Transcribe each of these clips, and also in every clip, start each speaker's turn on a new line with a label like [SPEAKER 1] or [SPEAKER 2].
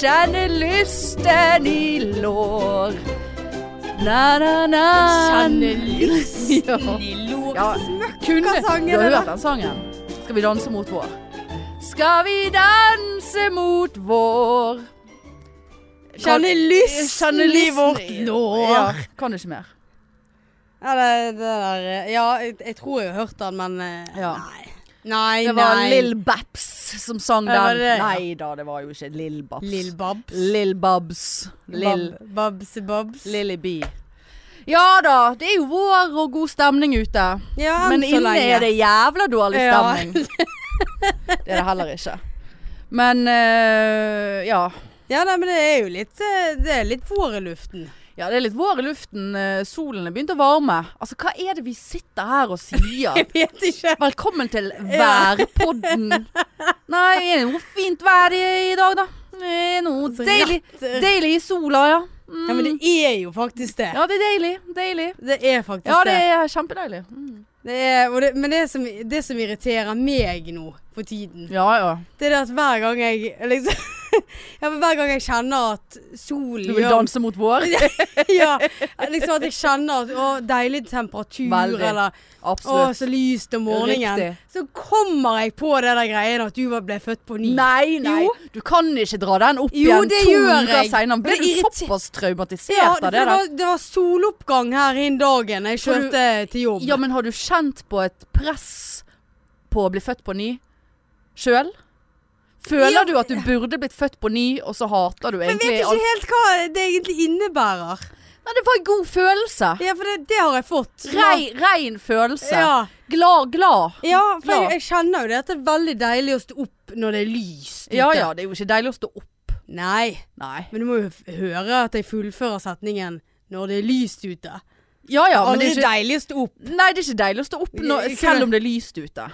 [SPEAKER 1] kjenner lysten i lår. Na, na, na.
[SPEAKER 2] Kjenner lysten i lår.
[SPEAKER 1] Ja, kunne.
[SPEAKER 2] sangen,
[SPEAKER 1] Du har
[SPEAKER 2] eller?
[SPEAKER 1] hørt den sangen. Skal vi danse mot vår? Skal vi danse mot vår?
[SPEAKER 2] Kjenner lysten
[SPEAKER 1] Kjenner
[SPEAKER 2] i
[SPEAKER 1] lysten
[SPEAKER 2] vårt
[SPEAKER 1] i-
[SPEAKER 2] lår.
[SPEAKER 1] Ja, kan ikke mer.
[SPEAKER 2] Ja, det, det der eh, Ja, jeg, jeg tror jeg har hørt den, men eh,
[SPEAKER 1] Ja.
[SPEAKER 2] Nei. Nei,
[SPEAKER 1] Det var
[SPEAKER 2] nei.
[SPEAKER 1] Lill Babs som sang
[SPEAKER 2] Ja, var
[SPEAKER 1] den.
[SPEAKER 2] det det?
[SPEAKER 1] Nei da, det var jo ikke Lill Babs.
[SPEAKER 2] Lill Babs.
[SPEAKER 1] Lill Babs. Lill
[SPEAKER 2] Bab- Babsi Babs.
[SPEAKER 1] Lilly B. Ja da, det er jo vår og god stemning ute.
[SPEAKER 2] Ja, enn
[SPEAKER 1] Men
[SPEAKER 2] så
[SPEAKER 1] inne
[SPEAKER 2] lenge.
[SPEAKER 1] er det jævla dårlig
[SPEAKER 2] Ja.
[SPEAKER 1] stemning. det er det heller ikke. Men eh, ja.
[SPEAKER 2] Ja, nei, men det er jo litt eh, Det er litt vår i luften.
[SPEAKER 1] Ja, det er litt vår i luften. eh, Solen er begynt å varme. Altså, hva er det vi sitter her og sier?
[SPEAKER 2] Jeg vet ikke.
[SPEAKER 1] Velkommen til værpodden. Nei, er det noe fint vær i, i dag, da? Eh, Noe
[SPEAKER 2] Så
[SPEAKER 1] deilig,
[SPEAKER 2] rett-
[SPEAKER 1] deilig i sola, ja. Mm.
[SPEAKER 2] Ja, men det er jo faktisk det.
[SPEAKER 1] Ja, det er deilig. Deilig.
[SPEAKER 2] Det er faktisk
[SPEAKER 1] Ja, det
[SPEAKER 2] det.
[SPEAKER 1] er kjempedeilig. Mm.
[SPEAKER 2] det, er, og det men det som, det som irriterer meg nå for tiden,
[SPEAKER 1] Ja, ja.
[SPEAKER 2] det er det at hver gang jeg liksom Ja, men hver gang jeg kjenner at solen
[SPEAKER 1] Du vil danse mot vår?
[SPEAKER 2] Ja, liksom at jeg kjenner at å, deilig temperatur,
[SPEAKER 1] Veldig.
[SPEAKER 2] eller å,
[SPEAKER 1] Absolutt.
[SPEAKER 2] så lyst om morgenen.
[SPEAKER 1] Riktig.
[SPEAKER 2] Så kommer jeg på det der greien at du var- ble født på ny.
[SPEAKER 1] Nei, nei.
[SPEAKER 2] Jo.
[SPEAKER 1] Du kan ikke dra den opp
[SPEAKER 2] Jo,
[SPEAKER 1] igjen
[SPEAKER 2] det
[SPEAKER 1] to
[SPEAKER 2] gjør
[SPEAKER 1] uker
[SPEAKER 2] jeg.
[SPEAKER 1] seinere. Ble
[SPEAKER 2] Det
[SPEAKER 1] du
[SPEAKER 2] irriter-
[SPEAKER 1] såpass traumatisert
[SPEAKER 2] Ja, for
[SPEAKER 1] av det?
[SPEAKER 2] det,
[SPEAKER 1] da?
[SPEAKER 2] var, det var soloppgang her innen dagen jeg
[SPEAKER 1] For du-
[SPEAKER 2] kjørte til jobb.
[SPEAKER 1] Ja, men har du kjent på et press på å bli født på ny sjøl? Føler
[SPEAKER 2] Ja,
[SPEAKER 1] du at du burde blitt født på ny, og så hater du
[SPEAKER 2] jeg vet
[SPEAKER 1] egentlig
[SPEAKER 2] ikke helt hva det egentlig innebærer.
[SPEAKER 1] Nei, det var en god følelse.
[SPEAKER 2] Ja, for det, det har jeg fått.
[SPEAKER 1] Rei, rein følelse.
[SPEAKER 2] Ja,
[SPEAKER 1] Glad, glad.
[SPEAKER 2] ja for
[SPEAKER 1] Glad.
[SPEAKER 2] jeg, jeg kjenner jo det at det er veldig deilig å stå opp når det er lyst ute.
[SPEAKER 1] Ja ja, det er jo ikke deilig å stå opp.
[SPEAKER 2] Nei,
[SPEAKER 1] Nei.
[SPEAKER 2] men du må jo f- høre at jeg fullfører setningen når det er lyst ute.
[SPEAKER 1] Ja ja, men det
[SPEAKER 2] Aldri
[SPEAKER 1] er ikke
[SPEAKER 2] deilig å stå opp.
[SPEAKER 1] Nei, det er ikke deilig å stå opp når,
[SPEAKER 2] Ikke-
[SPEAKER 1] selv om det er lyst ute.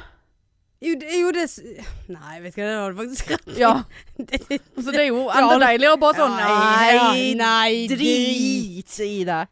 [SPEAKER 2] Jo, det, jo, det s- Nei, vet du hva, det har du faktisk rett i.
[SPEAKER 1] Ja,
[SPEAKER 2] Det-
[SPEAKER 1] Så det er jo
[SPEAKER 2] Ja,
[SPEAKER 1] enda
[SPEAKER 2] det-
[SPEAKER 1] deiligere å bare sånn
[SPEAKER 2] Nei,
[SPEAKER 1] Nei,
[SPEAKER 2] nei,
[SPEAKER 1] drit i det.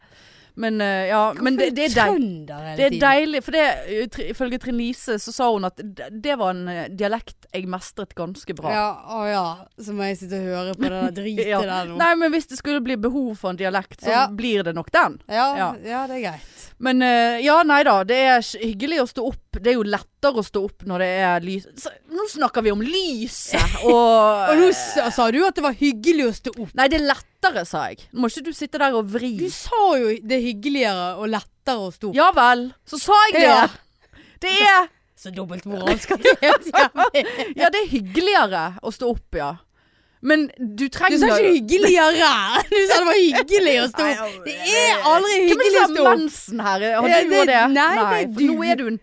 [SPEAKER 1] Men eh, ja, men det, det er deilig.
[SPEAKER 2] deilig.
[SPEAKER 1] Det er deilig, for det, uh, tri- ifølge Trine Lise så sa hun at d- det var en uh, dialekt jeg mestret ganske bra.
[SPEAKER 2] Ja, å ja. Så må jeg sitte og høre på det der dritet
[SPEAKER 1] Ja.
[SPEAKER 2] der nå.
[SPEAKER 1] Nei, men hvis det skulle bli behov for en dialekt, så
[SPEAKER 2] Ja.
[SPEAKER 1] blir det nok den.
[SPEAKER 2] Ja, ja.
[SPEAKER 1] Ja.
[SPEAKER 2] det er greit.
[SPEAKER 1] Men uh, ja, nei da. Det er sk- hyggelig å stå opp. Det er jo lettere å stå opp når det er lys... Så, nå snakker vi om lyset og
[SPEAKER 2] Og nå s- sa du at det var hyggelig å stå opp.
[SPEAKER 1] Nei, det er lettere, sa jeg. Nå må ikke du sitte der og vri.
[SPEAKER 2] Du sa jo det er hyggeligere og lettere å stå opp.
[SPEAKER 1] Ja vel. Så sa jeg det.
[SPEAKER 2] Ja.
[SPEAKER 1] Det er
[SPEAKER 2] Så dobbeltmoralsk at det er helt jævlig.
[SPEAKER 1] Ja, det er hyggeligere å stå opp, ja. Men du
[SPEAKER 2] Du
[SPEAKER 1] trenger
[SPEAKER 2] sa ikke hyggeligere! Du sa det var hyggelig å stå opp. Det er aldri
[SPEAKER 1] Hvem er
[SPEAKER 2] hyggelig
[SPEAKER 1] det
[SPEAKER 2] å
[SPEAKER 1] som
[SPEAKER 2] stå
[SPEAKER 1] har
[SPEAKER 2] opp.
[SPEAKER 1] mensen her? Har
[SPEAKER 2] Ja,
[SPEAKER 1] du òg
[SPEAKER 2] det-
[SPEAKER 1] det?
[SPEAKER 2] nei, det er
[SPEAKER 1] for
[SPEAKER 2] du.
[SPEAKER 1] nå er du en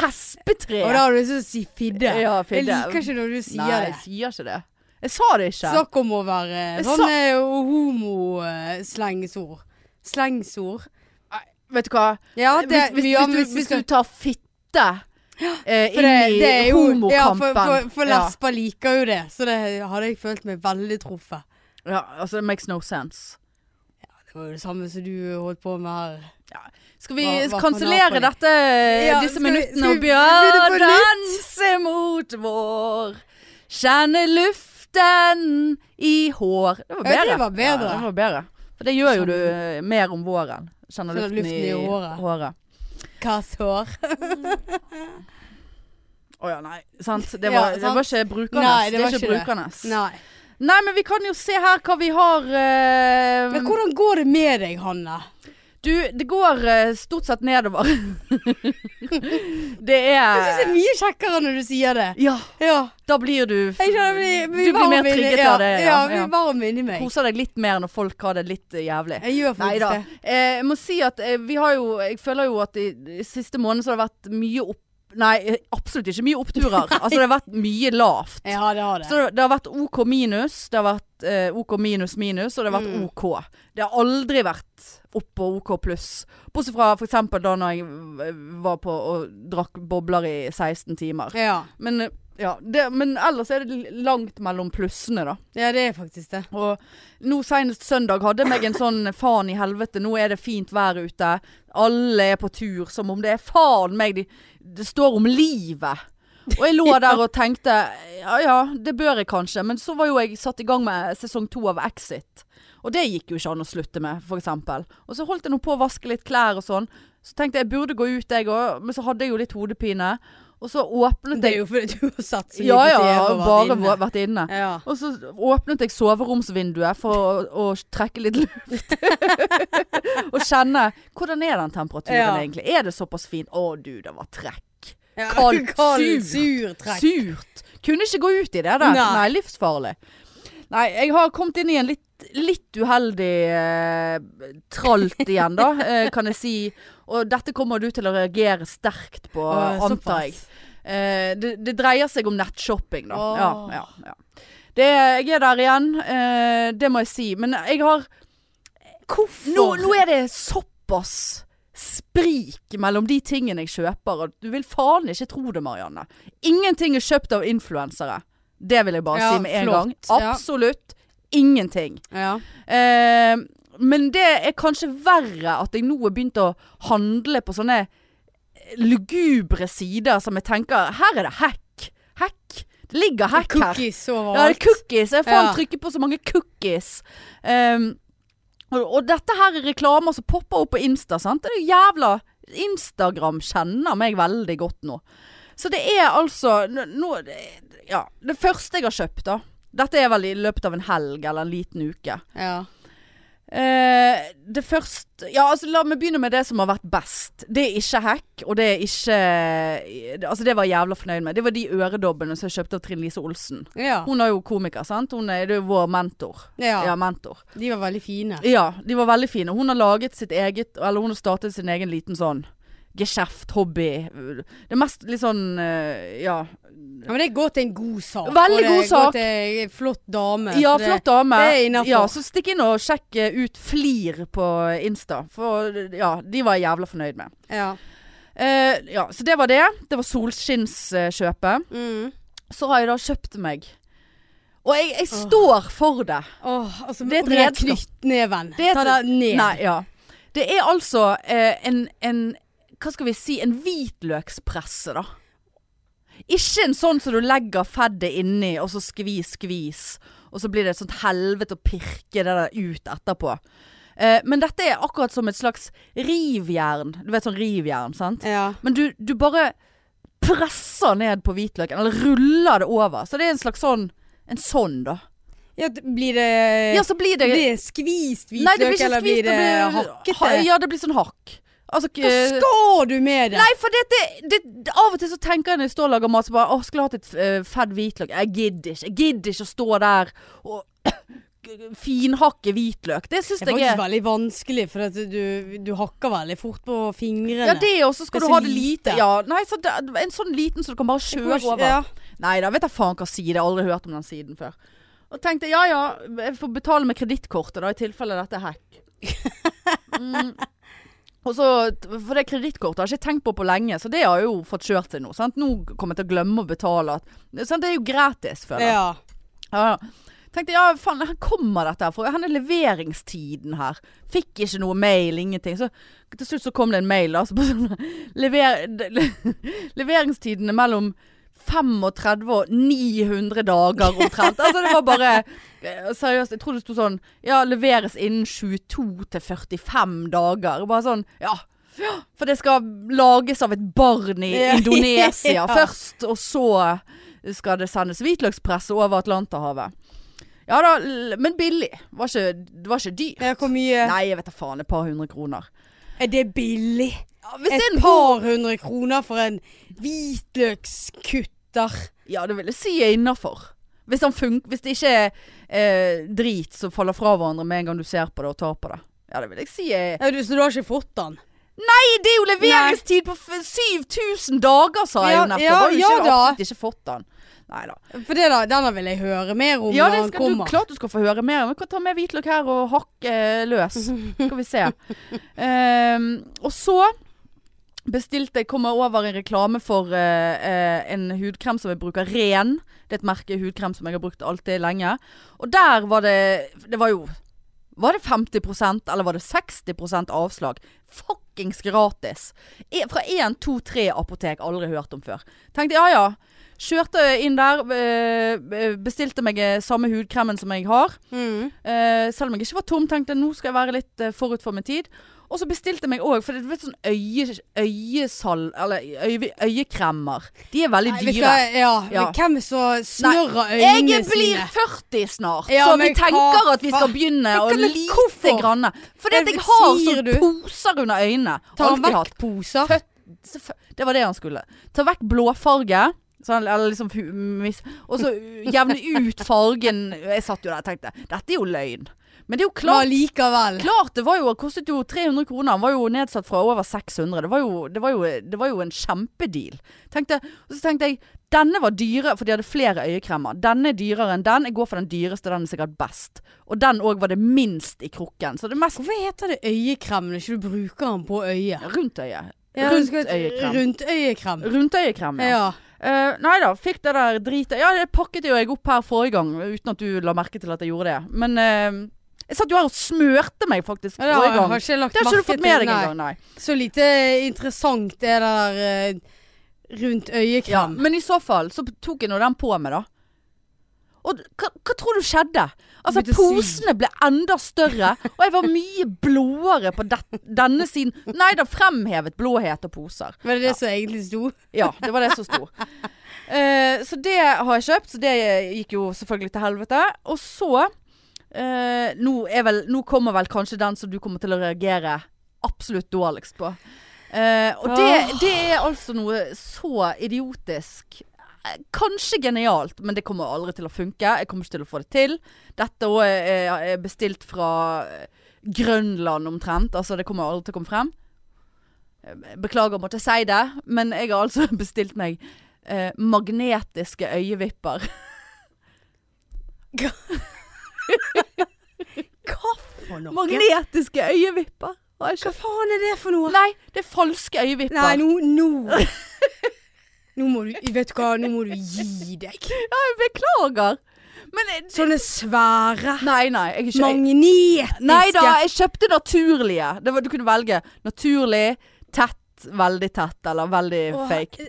[SPEAKER 1] hespetre.
[SPEAKER 2] Og da har du lyst til å si fidde.
[SPEAKER 1] Ja, fidde.
[SPEAKER 2] Jeg liker ikke når du sier
[SPEAKER 1] nei, jeg
[SPEAKER 2] det.
[SPEAKER 1] sier ikke det. Jeg sa det ikke.
[SPEAKER 2] Snakk om å være eh,
[SPEAKER 1] Jeg sa-
[SPEAKER 2] sånne homo-slengsord. Slengsord.
[SPEAKER 1] Vet du hva?
[SPEAKER 2] Ja, det,
[SPEAKER 1] hvis, hvis,
[SPEAKER 2] ja,
[SPEAKER 1] hvis, du,
[SPEAKER 2] men vi
[SPEAKER 1] hvis
[SPEAKER 2] skal-
[SPEAKER 1] du tar fitte eh,
[SPEAKER 2] For det,
[SPEAKER 1] inn i
[SPEAKER 2] det er jo,
[SPEAKER 1] homokampen
[SPEAKER 2] ja, for, for, for
[SPEAKER 1] Ja.
[SPEAKER 2] lesber liker jo det, så det hadde jeg følt meg veldig truffet.
[SPEAKER 1] Ja, altså, det makes no sense.
[SPEAKER 2] Det var jo det samme som du holdt på med her.
[SPEAKER 1] Skal vi
[SPEAKER 2] Hva- hva for
[SPEAKER 1] kansellere
[SPEAKER 2] naboer?
[SPEAKER 1] dette,
[SPEAKER 2] Ja,
[SPEAKER 1] disse
[SPEAKER 2] skal vi-
[SPEAKER 1] minuttene
[SPEAKER 2] skal
[SPEAKER 1] og
[SPEAKER 2] vi- blir det
[SPEAKER 1] bjørn
[SPEAKER 2] på nytt?
[SPEAKER 1] danse mot vår? Kjenne luften i hår. Det var
[SPEAKER 2] Ja,
[SPEAKER 1] bedre.
[SPEAKER 2] det var bedre.
[SPEAKER 1] Ja, det var bedre. For det gjør jo du eh, mer om våren. Kjenner
[SPEAKER 2] Kjenner
[SPEAKER 1] luften,
[SPEAKER 2] luften
[SPEAKER 1] i,
[SPEAKER 2] i håret.
[SPEAKER 1] håret.
[SPEAKER 2] Kass hår.
[SPEAKER 1] Å ja, nei. Sant? Det
[SPEAKER 2] Ja,
[SPEAKER 1] var, det
[SPEAKER 2] sant.
[SPEAKER 1] var ikke brukende.
[SPEAKER 2] Nei, det
[SPEAKER 1] det,
[SPEAKER 2] var
[SPEAKER 1] er ikke,
[SPEAKER 2] ikke det.
[SPEAKER 1] brukende. Nei.
[SPEAKER 2] Nei.
[SPEAKER 1] men vi kan jo se her hva vi har eh,
[SPEAKER 2] Men hvordan går det med deg, Hanne?
[SPEAKER 1] Du, det går eh, stort sett nedover. det
[SPEAKER 2] Jeg synes
[SPEAKER 1] er
[SPEAKER 2] det er mye kjekkere når du sier det.
[SPEAKER 1] Ja.
[SPEAKER 2] Ja.
[SPEAKER 1] Da blir du
[SPEAKER 2] Jeg kjenner jeg blir,
[SPEAKER 1] Du blir
[SPEAKER 2] varm
[SPEAKER 1] mer
[SPEAKER 2] inni-
[SPEAKER 1] trigget
[SPEAKER 2] ja,
[SPEAKER 1] av det, ja,
[SPEAKER 2] Ja,
[SPEAKER 1] ja.
[SPEAKER 2] jeg blir varm inni meg.
[SPEAKER 1] koser deg litt mer når folk har det litt eh, jævlig.
[SPEAKER 2] Jeg gjør
[SPEAKER 1] Nei
[SPEAKER 2] faktisk
[SPEAKER 1] da.
[SPEAKER 2] det.
[SPEAKER 1] Eh, jeg må si at eh, vi har jo Jeg føler jo at i i siste måned så har det vært mye opp... Nei, eh, absolutt ikke mye oppturer. altså det har vært mye lavt.
[SPEAKER 2] Ja, det har det.
[SPEAKER 1] Så det har vært OK minus, det har vært eh, OK minus minus, og det har vært
[SPEAKER 2] Mm.
[SPEAKER 1] OK. Det har aldri vært opp og OK pluss. Bortsett fra f.eks. da når jeg eh, var på og drakk bobler i 16 timer.
[SPEAKER 2] Ja.
[SPEAKER 1] Men, eh, ja, det, men ellers er det langt mellom plussene, da.
[SPEAKER 2] ja, det er faktisk det.
[SPEAKER 1] Og nå senest søndag hadde meg en sånn faen i helvete, nå er det fint vær ute. Alle er på tur, som om det er faen meg de Det står om livet. Og jeg lå der og tenkte ja ja, det bør jeg kanskje. Men så var jo jeg satt i gang med sesong to av Exit. Og det gikk jo ikke an å slutte med, f.eks. Og så holdt jeg nå på å vaske litt klær og sånn. Så tenkte jeg jeg burde gå ut, jeg òg. Men så hadde jeg jo litt hodepine. Og så åpnet
[SPEAKER 2] Det er
[SPEAKER 1] jeg
[SPEAKER 2] jo fordi du har satt så mye
[SPEAKER 1] Ja ja,
[SPEAKER 2] på TV og vært
[SPEAKER 1] bare
[SPEAKER 2] inne.
[SPEAKER 1] vært inne.
[SPEAKER 2] Ja.
[SPEAKER 1] Og så åpnet jeg soveromsvinduet for å, å trekke litt luft. og kjenne Hvordan er den temperaturen
[SPEAKER 2] Ja.
[SPEAKER 1] egentlig? Er det såpass fin? Å du, det var trekk.
[SPEAKER 2] Ja,
[SPEAKER 1] Kaldt,
[SPEAKER 2] kaldt,
[SPEAKER 1] surt.
[SPEAKER 2] sur trekk.
[SPEAKER 1] Surt. Kunne ikke gå ut i det der. Nei,
[SPEAKER 2] Nei.
[SPEAKER 1] livsfarlig. Nei, jeg har kommet inn i en litt, litt uheldig eh, tralt igjen, da, eh, kan jeg si. Og dette kommer du til å reagere sterkt på,
[SPEAKER 2] Å,
[SPEAKER 1] antar jeg.
[SPEAKER 2] såpass.
[SPEAKER 1] Eh, det, det dreier seg om nettshopping, da.
[SPEAKER 2] Åh.
[SPEAKER 1] Ja, ja, ja. Det, jeg er der igjen, eh, det må jeg si. Men jeg har
[SPEAKER 2] Hvorfor?
[SPEAKER 1] nå, nå er det såpass sprik mellom de tingene jeg kjøper, at du vil faen ikke tro det, Marianne. Ingenting er kjøpt av influensere. Det vil jeg bare
[SPEAKER 2] Ja,
[SPEAKER 1] si med en
[SPEAKER 2] flott.
[SPEAKER 1] gang.
[SPEAKER 2] Ja.
[SPEAKER 1] Absolutt ingenting.
[SPEAKER 2] ja.
[SPEAKER 1] Eh, men det er kanskje verre at jeg nå har begynt å handle på sånne eh, lugubre sider som jeg tenker Her er det hack. Hack. Det ligger hack her.
[SPEAKER 2] Cookies
[SPEAKER 1] Ja, det
[SPEAKER 2] overalt.
[SPEAKER 1] er cookies. Jeg faen
[SPEAKER 2] Ja.
[SPEAKER 1] trykker på så mange cookies. Ehm, og, og dette her er reklamer som popper opp på Insta, sant? Det er jo jævla Instagram kjenner meg veldig godt nå. Så det er altså nå, nå- det- Ja. Det første jeg har kjøpt, da. Dette er vel i løpet av en helg eller en liten uke.
[SPEAKER 2] Ja.
[SPEAKER 1] Eh, det første Ja, altså la meg begynne med det som har vært best. Det er ikke hack, og det er ikke Altså, det var jeg jævla fornøyd med. Det var de øredobbene som jeg kjøpte av Trine Lise Olsen.
[SPEAKER 2] Ja.
[SPEAKER 1] Hun er jo komiker, sant? Hun er, det er jo vår mentor.
[SPEAKER 2] ja.
[SPEAKER 1] Ja. mentor.
[SPEAKER 2] De var veldig fine.
[SPEAKER 1] Ja, de var veldig fine. Hun har laget sitt eget Eller hun har startet sin egen liten sånn geskjeft, hobby. Det mest litt sånn eh, Ja.
[SPEAKER 2] Ja, men det går til en god sak.
[SPEAKER 1] Veldig
[SPEAKER 2] og det
[SPEAKER 1] god sak.
[SPEAKER 2] Går til en flott dame.
[SPEAKER 1] Ja,
[SPEAKER 2] så det-
[SPEAKER 1] flott dame.
[SPEAKER 2] det er innenfor.
[SPEAKER 1] Ja, så stikk inn og sjekk eh, ut Flir på Insta. For ja, de var jeg jævla fornøyd med.
[SPEAKER 2] Ja.
[SPEAKER 1] Eh, ja, så det var det. Det var solskinnskjøpet.
[SPEAKER 2] Mm.
[SPEAKER 1] Så har jeg da kjøpt meg. Og jeg, jeg står for det.
[SPEAKER 2] Åh, altså,
[SPEAKER 1] Det er et
[SPEAKER 2] og den
[SPEAKER 1] redskap.
[SPEAKER 2] Knyttneven.
[SPEAKER 1] Det er et-
[SPEAKER 2] Ta det ned.
[SPEAKER 1] Nei, ja. Det er altså eh, en, en Hva skal vi si? En hvitløkspresse, da. Ikke en sånn som du legger feddet inni, og så skvis, skvis. Og så blir det et sånt helvete å pirke det der ut etterpå. Eh, men dette er akkurat som et slags rivjern. Du vet sånn rivjern, sant?
[SPEAKER 2] Ja.
[SPEAKER 1] Men du, du bare presser ned på hvitløken, eller ruller det over. Så det er en slags sånn En sånn, da.
[SPEAKER 2] ja, d- blir det
[SPEAKER 1] Ja, så blir det
[SPEAKER 2] Eh, Blir det skvist hvitløk,
[SPEAKER 1] Nei, det blir ikke
[SPEAKER 2] eller blir
[SPEAKER 1] skvist,
[SPEAKER 2] det,
[SPEAKER 1] blir-
[SPEAKER 2] hakkete?
[SPEAKER 1] ha- Ja, det blir sånn hakk. Altså,
[SPEAKER 2] Hva
[SPEAKER 1] eh,
[SPEAKER 2] skal du med det?
[SPEAKER 1] Nei, for det, det, det, av og til så tenker jeg når jeg står og lager mat, så bare Å, skulle hatt et eh, fedd hvitløk. Jeg gidder ikke. Jeg gidder ikke å stå der og finhakke hvitløk. Det syns
[SPEAKER 2] det er
[SPEAKER 1] jeg
[SPEAKER 2] faktisk
[SPEAKER 1] er
[SPEAKER 2] veldig vanskelig, for at du, du hakker veldig fort på fingrene.
[SPEAKER 1] Ja, det, og så skal
[SPEAKER 2] Det er
[SPEAKER 1] du ha
[SPEAKER 2] så
[SPEAKER 1] det lite.
[SPEAKER 2] lite.
[SPEAKER 1] Ja, nei, så det, en sånn liten så du kan bare
[SPEAKER 2] Jeg
[SPEAKER 1] kjøre
[SPEAKER 2] kommer ikke-
[SPEAKER 1] over.
[SPEAKER 2] Ja.
[SPEAKER 1] Nei da, vet jeg faen hva side. Jeg har aldri hørt om den siden før. Og tenkte ja ja, jeg får betale med kredittkortet da, i tilfelle dette er hack. Mm. Og så, For det kredittkortet har jeg ikke tenkt på på lenge, så det har jeg jo fått kjørt til nå. Sant? Nå kommer jeg til å glemme å betale. Sant? Det er jo gratis, føler jeg.
[SPEAKER 2] ja.
[SPEAKER 1] Ja. ja. Tenkte ja, faen, her kommer dette her fra. Her er leveringstiden her. Fikk ikke noe mail, ingenting. Så til slutt så kom det en mail, da. Så bare sånn, lever, leveringstiden er mellom 35 og 900 dager omtrent. Altså det var bare eh, Seriøst, jeg tror det sto sånn Ja, leveres innen 22 til 45 dager. Bare sånn, ja. ja, For det skal lages av et barn i
[SPEAKER 2] Ja.
[SPEAKER 1] Indonesia
[SPEAKER 2] Ja.
[SPEAKER 1] først, og så skal det sendes hvitløkspresse over Atlanterhavet. Ja da, l- men billig. Var ikke, det var ikke dyrt.
[SPEAKER 2] Ja, Hvor mye
[SPEAKER 1] Nei, jeg vet da faen. Et par hundre kroner.
[SPEAKER 2] Er det billig?
[SPEAKER 1] Ja, hvis det er
[SPEAKER 2] Et
[SPEAKER 1] en god
[SPEAKER 2] par hundre kroner for en hvitløkskutter.
[SPEAKER 1] Ja, det vil jeg si er innafor. Hvis, han fun- hvis det ikke er eh, drit som faller fra hverandre med en gang du ser på det og tar på det. Ja, det vil jeg si er
[SPEAKER 2] Ja, du, så du har ikke fått den?
[SPEAKER 1] Nei, det er jo leveringstid på f- 7000 dager, sa jeg
[SPEAKER 2] Ja,
[SPEAKER 1] jo nettopp.
[SPEAKER 2] ja,
[SPEAKER 1] har jo
[SPEAKER 2] ja
[SPEAKER 1] ikke,
[SPEAKER 2] da.
[SPEAKER 1] absolutt ikke fått den. Nei da.
[SPEAKER 2] For det da, denne vil jeg høre mer om
[SPEAKER 1] Ja,
[SPEAKER 2] når
[SPEAKER 1] det
[SPEAKER 2] han
[SPEAKER 1] skal, du,
[SPEAKER 2] kommer.
[SPEAKER 1] klart du skal få høre mer. Vi kan ta med hvitløk her og hakke eh, løs. Skal vi se. Ehm, og så bestilte jeg kommer over en reklame for eh, eh, en hudkrem som jeg bruker ren. Det er et merke hudkrem som jeg har brukt alltid lenge. Og der var det Det var jo Var det 50 eller var det 60 avslag? Fuckings gratis! E- Fra 1, 2, 3 apotek, aldri hørt om før. Tenkte ja ja. Kjørte inn der, eh, bestilte meg eh, samme hudkremen som jeg har.
[SPEAKER 2] Mm.
[SPEAKER 1] Eh, selv om jeg ikke var tom, tenkte jeg nå skal jeg være litt eh, forut for min tid. Og så bestilte jeg meg òg, for det er sånn øye, øyesal... Eller øye, øyekremer. De er veldig
[SPEAKER 2] Nei, vet du
[SPEAKER 1] dyre.
[SPEAKER 2] hva? Ja, men
[SPEAKER 1] Ja.
[SPEAKER 2] Hvem som snørrer øynene
[SPEAKER 1] Jeg blir
[SPEAKER 2] sine?
[SPEAKER 1] 40 snart,
[SPEAKER 2] Ja,
[SPEAKER 1] så vi
[SPEAKER 2] men
[SPEAKER 1] tenker
[SPEAKER 2] hva
[SPEAKER 1] at vi skal
[SPEAKER 2] faen?
[SPEAKER 1] begynne å
[SPEAKER 2] Men hva-
[SPEAKER 1] lite
[SPEAKER 2] hvorfor?
[SPEAKER 1] grann. Fordi at
[SPEAKER 2] Det
[SPEAKER 1] jeg har
[SPEAKER 2] sier
[SPEAKER 1] sånne
[SPEAKER 2] du.
[SPEAKER 1] poser under øynene.
[SPEAKER 2] Tar han
[SPEAKER 1] Alltid hatt.
[SPEAKER 2] vekk poser?
[SPEAKER 1] Selvfø- Det var det han skulle. Ta vekk blåfarge. Sånn, eller liksom fu- mis, Og så jevne ut fargen. Jeg satt jo der og tenkte dette er jo løgn. Men det er jo
[SPEAKER 2] Men
[SPEAKER 1] klart,
[SPEAKER 2] likevel.
[SPEAKER 1] klart det var jo, det kostet jo 300 kroner. Han var jo nedsatt fra over 600. Det var jo, det var jo, det var jo en kjempedeal. Tenkte, og så tenkte jeg denne var dyre, for de hadde flere øyekremer. Denne er dyrere enn den. Jeg går for den dyreste, den er sikkert best. Og den òg var det minst i krukken. Så det er mest
[SPEAKER 2] Hvorfor heter det øyekrem når ikke du bruker den på øyet?
[SPEAKER 1] rundt øyet.
[SPEAKER 2] Ja, du
[SPEAKER 1] rundt
[SPEAKER 2] skal-
[SPEAKER 1] øyekrem.
[SPEAKER 2] Rundt øyekrem.
[SPEAKER 1] Rundt øyekrem, ja.
[SPEAKER 2] Ja.
[SPEAKER 1] Eh, nei da, fikk det der dritet. Ja, det pakket jo jeg opp her forrige gang, uten at du la merke til at jeg gjorde det. Men eh, jeg satt jo her og smørte meg faktisk
[SPEAKER 2] Ja, det
[SPEAKER 1] forrige
[SPEAKER 2] har,
[SPEAKER 1] gang.
[SPEAKER 2] har ikke lagt
[SPEAKER 1] Det har ikke du
[SPEAKER 2] merke
[SPEAKER 1] fått med
[SPEAKER 2] til,
[SPEAKER 1] deg
[SPEAKER 2] nei.
[SPEAKER 1] engang, nei.
[SPEAKER 2] Så lite interessant er det der eh, rundt
[SPEAKER 1] Ja,
[SPEAKER 2] øyekrem.
[SPEAKER 1] men i så fall så tok jeg nå den på meg, da. Og d- hva, hva tror du skjedde? Altså,
[SPEAKER 2] Begynte å
[SPEAKER 1] posene ble enda større, og jeg var mye blåere på det, denne siden. Nei da, fremhevet blåhet og poser.
[SPEAKER 2] Var det det som egentlig sto?
[SPEAKER 1] Ja, det var det som sto. Eh, så det har jeg kjøpt, så det gikk jo selvfølgelig til helvete. Og så eh, nå, er vel, nå kommer vel kanskje den som du kommer til å reagere absolutt dårligst på. Eh, og det, det er altså noe så idiotisk. Eh, Kanskje genialt, men det kommer aldri til å funke. Jeg kommer ikke til å få det til. Dette òg er er bestilt fra eh, Grønland omtrent. Altså, det kommer aldri til å komme frem. Beklager å måtte si det, men jeg har altså bestilt meg eh, magnetiske øyevipper.
[SPEAKER 2] Hva for noe?
[SPEAKER 1] Magnetiske øyevipper har jeg
[SPEAKER 2] Hva
[SPEAKER 1] kjøpt.
[SPEAKER 2] faen er det for noe?
[SPEAKER 1] Nei, det er falske øyevipper.
[SPEAKER 2] Nei, nå nå. nå må du Vet du hva, nå må du gi deg.
[SPEAKER 1] Jeg beklager. Men eh,
[SPEAKER 2] Sånne svære,
[SPEAKER 1] Nei, nei. Jeg er ikke, jeg,
[SPEAKER 2] magnetiske
[SPEAKER 1] nei da, jeg kjøpte naturlige. Det var, du kunne velge naturlig, tett, veldig tett eller veldig
[SPEAKER 2] Åh,
[SPEAKER 1] fake.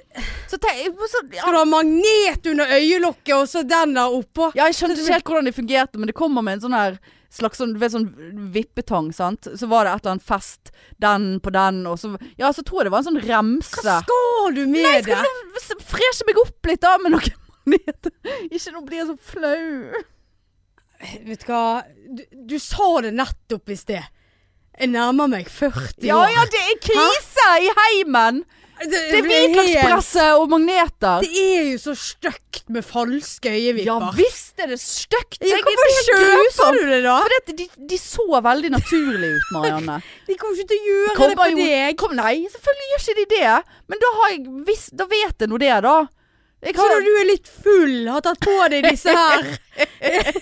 [SPEAKER 1] Så tenk så,
[SPEAKER 2] Skal du ha magnet under øyelokket, og så den der oppå?
[SPEAKER 1] Ja, jeg skjønte ikke helt hvordan de fungerte, men det kommer med en sånn her slags sånn, du vet, sånn vippetang, sant. Så var det et eller annet fest, den på den, og så Ja, så tror jeg det var en sånn remse.
[SPEAKER 2] Hva skal du med
[SPEAKER 1] Jeg
[SPEAKER 2] det?
[SPEAKER 1] skulle freshe meg opp litt da med noen magneter. Ikke nå blir jeg så flau.
[SPEAKER 2] Vet du hva, du, du sa det nettopp i sted. Jeg nærmer meg 40
[SPEAKER 1] Ja
[SPEAKER 2] år.
[SPEAKER 1] ja, det er krise i heimen!
[SPEAKER 2] det,
[SPEAKER 1] Det er
[SPEAKER 2] blir helt-
[SPEAKER 1] hvitløkspresse og magneter.
[SPEAKER 2] Det er jo så stygt med falske
[SPEAKER 1] Ja
[SPEAKER 2] øyevipper.
[SPEAKER 1] visst er det stygt.
[SPEAKER 2] Ja,
[SPEAKER 1] Jeg-
[SPEAKER 2] hvorfor
[SPEAKER 1] det er
[SPEAKER 2] kjøper
[SPEAKER 1] grusomt.
[SPEAKER 2] du det da?
[SPEAKER 1] Fordi at de, de så veldig naturlige ut, Marianne.
[SPEAKER 2] De kommer ikke til å gjøre det
[SPEAKER 1] Kommer
[SPEAKER 2] på
[SPEAKER 1] jo-
[SPEAKER 2] deg.
[SPEAKER 1] Kom, nei, selvfølgelig gjør ikke de det. Men da, har jeg visst, da vet jeg nå det, da. Jeg
[SPEAKER 2] Så
[SPEAKER 1] har,
[SPEAKER 2] når du er litt full, har tatt på deg disse her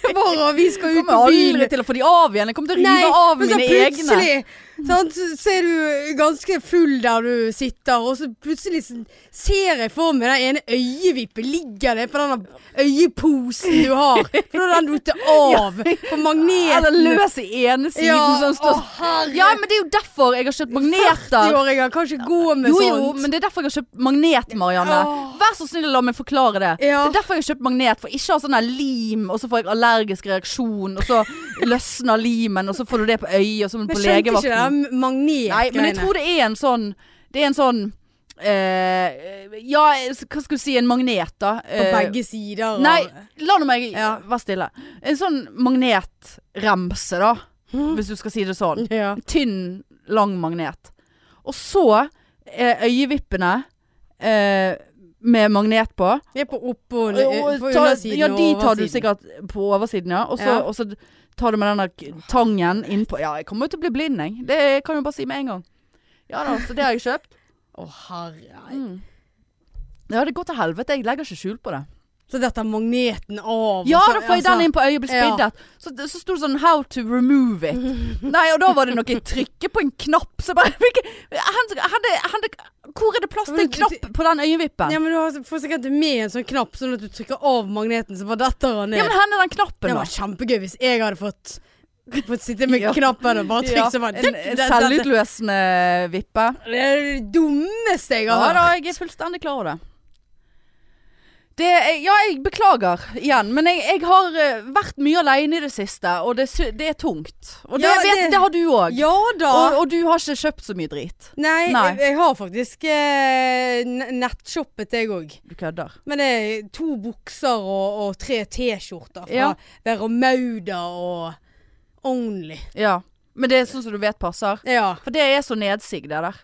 [SPEAKER 2] Bare vi skal ut
[SPEAKER 1] kommer
[SPEAKER 2] på byen
[SPEAKER 1] aldri til å få de av igjen. Jeg kommer til å rive av
[SPEAKER 2] men så
[SPEAKER 1] mine egne.
[SPEAKER 2] plutselig sant, så er du ganske full der du sitter, og så plutselig s- ser jeg for meg den ene øyevippen ligger det på den øyeposen du har. For da har den datt av på
[SPEAKER 1] Eller
[SPEAKER 2] magneten.
[SPEAKER 1] løs i ene siden. sånn
[SPEAKER 2] å
[SPEAKER 1] står,
[SPEAKER 2] herre.
[SPEAKER 1] ja, men det er jo derfor jeg har kjøpt magneter.
[SPEAKER 2] 40-åringer kan ikke gå med
[SPEAKER 1] Jo, jo,
[SPEAKER 2] sånt.
[SPEAKER 1] men det er derfor jeg har kjøpt magnet, Marianne.
[SPEAKER 2] Åh.
[SPEAKER 1] Vær så snill, la meg forklare det.
[SPEAKER 2] Ja.
[SPEAKER 1] Det er derfor jeg har kjøpt magnet, for ikke å ha sånn her lim, og så får jeg allergisk reaksjon, og så løsner limen, og så får du det på øyet, og så må du
[SPEAKER 2] Men
[SPEAKER 1] på
[SPEAKER 2] skjønte ikke det
[SPEAKER 1] legevakten.
[SPEAKER 2] der magnet
[SPEAKER 1] Nei, men jeg tror det er en sånn Det er en sånn eh, Ja, hva skal du si, en magnet, da.
[SPEAKER 2] På
[SPEAKER 1] Eh,
[SPEAKER 2] begge sider. og-
[SPEAKER 1] Nei, la nå meg
[SPEAKER 2] Ja.
[SPEAKER 1] være stille. En sånn magnetremse, da.
[SPEAKER 2] Mhm.
[SPEAKER 1] Hvis du skal si det sånn.
[SPEAKER 2] Ja.
[SPEAKER 1] En tynn, lang magnet. Og så er øyevippene eh, med magnet på.
[SPEAKER 2] Det er på opp og
[SPEAKER 1] Og,
[SPEAKER 2] ned-
[SPEAKER 1] og,
[SPEAKER 2] på
[SPEAKER 1] ta,
[SPEAKER 2] undersiden
[SPEAKER 1] ja, de
[SPEAKER 2] og
[SPEAKER 1] tar du
[SPEAKER 2] oversiden.
[SPEAKER 1] sikkert på oversiden, ja. Og så,
[SPEAKER 2] Ja.
[SPEAKER 1] og så tar du med den der k- tangen innpå. Ja, jeg kommer jo til å bli blind, jeg. Det kan jeg bare si med en gang. Ja da, så det har jeg kjøpt.
[SPEAKER 2] Å, herre.
[SPEAKER 1] Mm. Ja, det går til helvete. Jeg legger ikke skjul på det.
[SPEAKER 2] Så detter magneten av. altså, og
[SPEAKER 1] Ja,
[SPEAKER 2] så-
[SPEAKER 1] da får jeg den inn på øyet og blir
[SPEAKER 2] Ja.
[SPEAKER 1] spiddet. Så, så sto det sånn 'How to remove it'. Nei, og da var det noe trykke på en knapp. Så bare hvilke, hen, hen, hen, Hvor er det plass til en knapp på den øyevippen?
[SPEAKER 2] Ja, men du har- får sikkert med en sånn knapp, sånn at du trykker av magneten, så bare detter han ned.
[SPEAKER 1] Ja, men hen er den
[SPEAKER 2] det
[SPEAKER 1] knappen,
[SPEAKER 2] var
[SPEAKER 1] da?
[SPEAKER 2] kjempegøy hvis jeg hadde fått Fått sitte med
[SPEAKER 1] Ja.
[SPEAKER 2] knappen og bare trykke
[SPEAKER 1] Ja,
[SPEAKER 2] så bare
[SPEAKER 1] en, en selvutløsende vippe.
[SPEAKER 2] Det er det dummeste jeg
[SPEAKER 1] Ja
[SPEAKER 2] har
[SPEAKER 1] da,
[SPEAKER 2] hørt.
[SPEAKER 1] jeg er fullstendig klar over det. Det, er- ja, jeg beklager igjen, men jeg, jeg har eh, vært mye alene i det siste, og det, sy- det er tungt. Og det,
[SPEAKER 2] Ja,
[SPEAKER 1] jeg vet,
[SPEAKER 2] det-
[SPEAKER 1] det, har du òg.
[SPEAKER 2] Ja da.
[SPEAKER 1] Og, og du har ikke kjøpt så mye drit.
[SPEAKER 2] nei,
[SPEAKER 1] Nei.
[SPEAKER 2] Jeg, jeg har faktisk eh, n- nettshoppet, jeg òg.
[SPEAKER 1] Du kødder.
[SPEAKER 2] Men det er to bukser og, og tre T-skjorter fra
[SPEAKER 1] Ja.
[SPEAKER 2] Vera Mauda og Only.
[SPEAKER 1] Ja. Men det er sånn som du vet passer.
[SPEAKER 2] Ja.
[SPEAKER 1] For det er så nedsig, det der.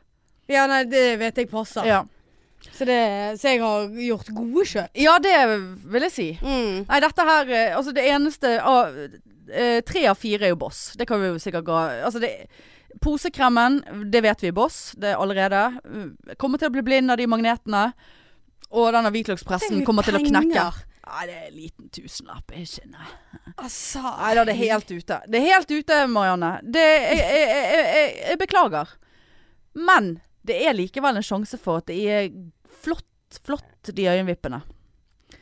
[SPEAKER 2] ja, nei, det vet jeg passer.
[SPEAKER 1] Ja,
[SPEAKER 2] Så, det, så jeg har gjort gode kjøp.
[SPEAKER 1] ja det vil jeg si.
[SPEAKER 2] Mm.
[SPEAKER 1] Nei, dette her eh, Altså, det eneste av eh, Tre av fire er jo Boss. Det kan vi jo sikkert gå Altså, det Posekremen, det vet vi er Boss. Det er allerede. Uh, Kommer til å bli blind av de magnetene. Og denne hvitløkspressen
[SPEAKER 2] Trenger
[SPEAKER 1] kommer til å
[SPEAKER 2] penger.
[SPEAKER 1] knekke. Nei, det er en liten tusenlapp. er Ikke nei.
[SPEAKER 2] Altså
[SPEAKER 1] Nei da, det er helt ute. Det er helt ute, Marianne. Det jeg, jeg, jeg, jeg, jeg beklager. Men det er likevel en sjanse for at det er flott, flott, de øyenvippene.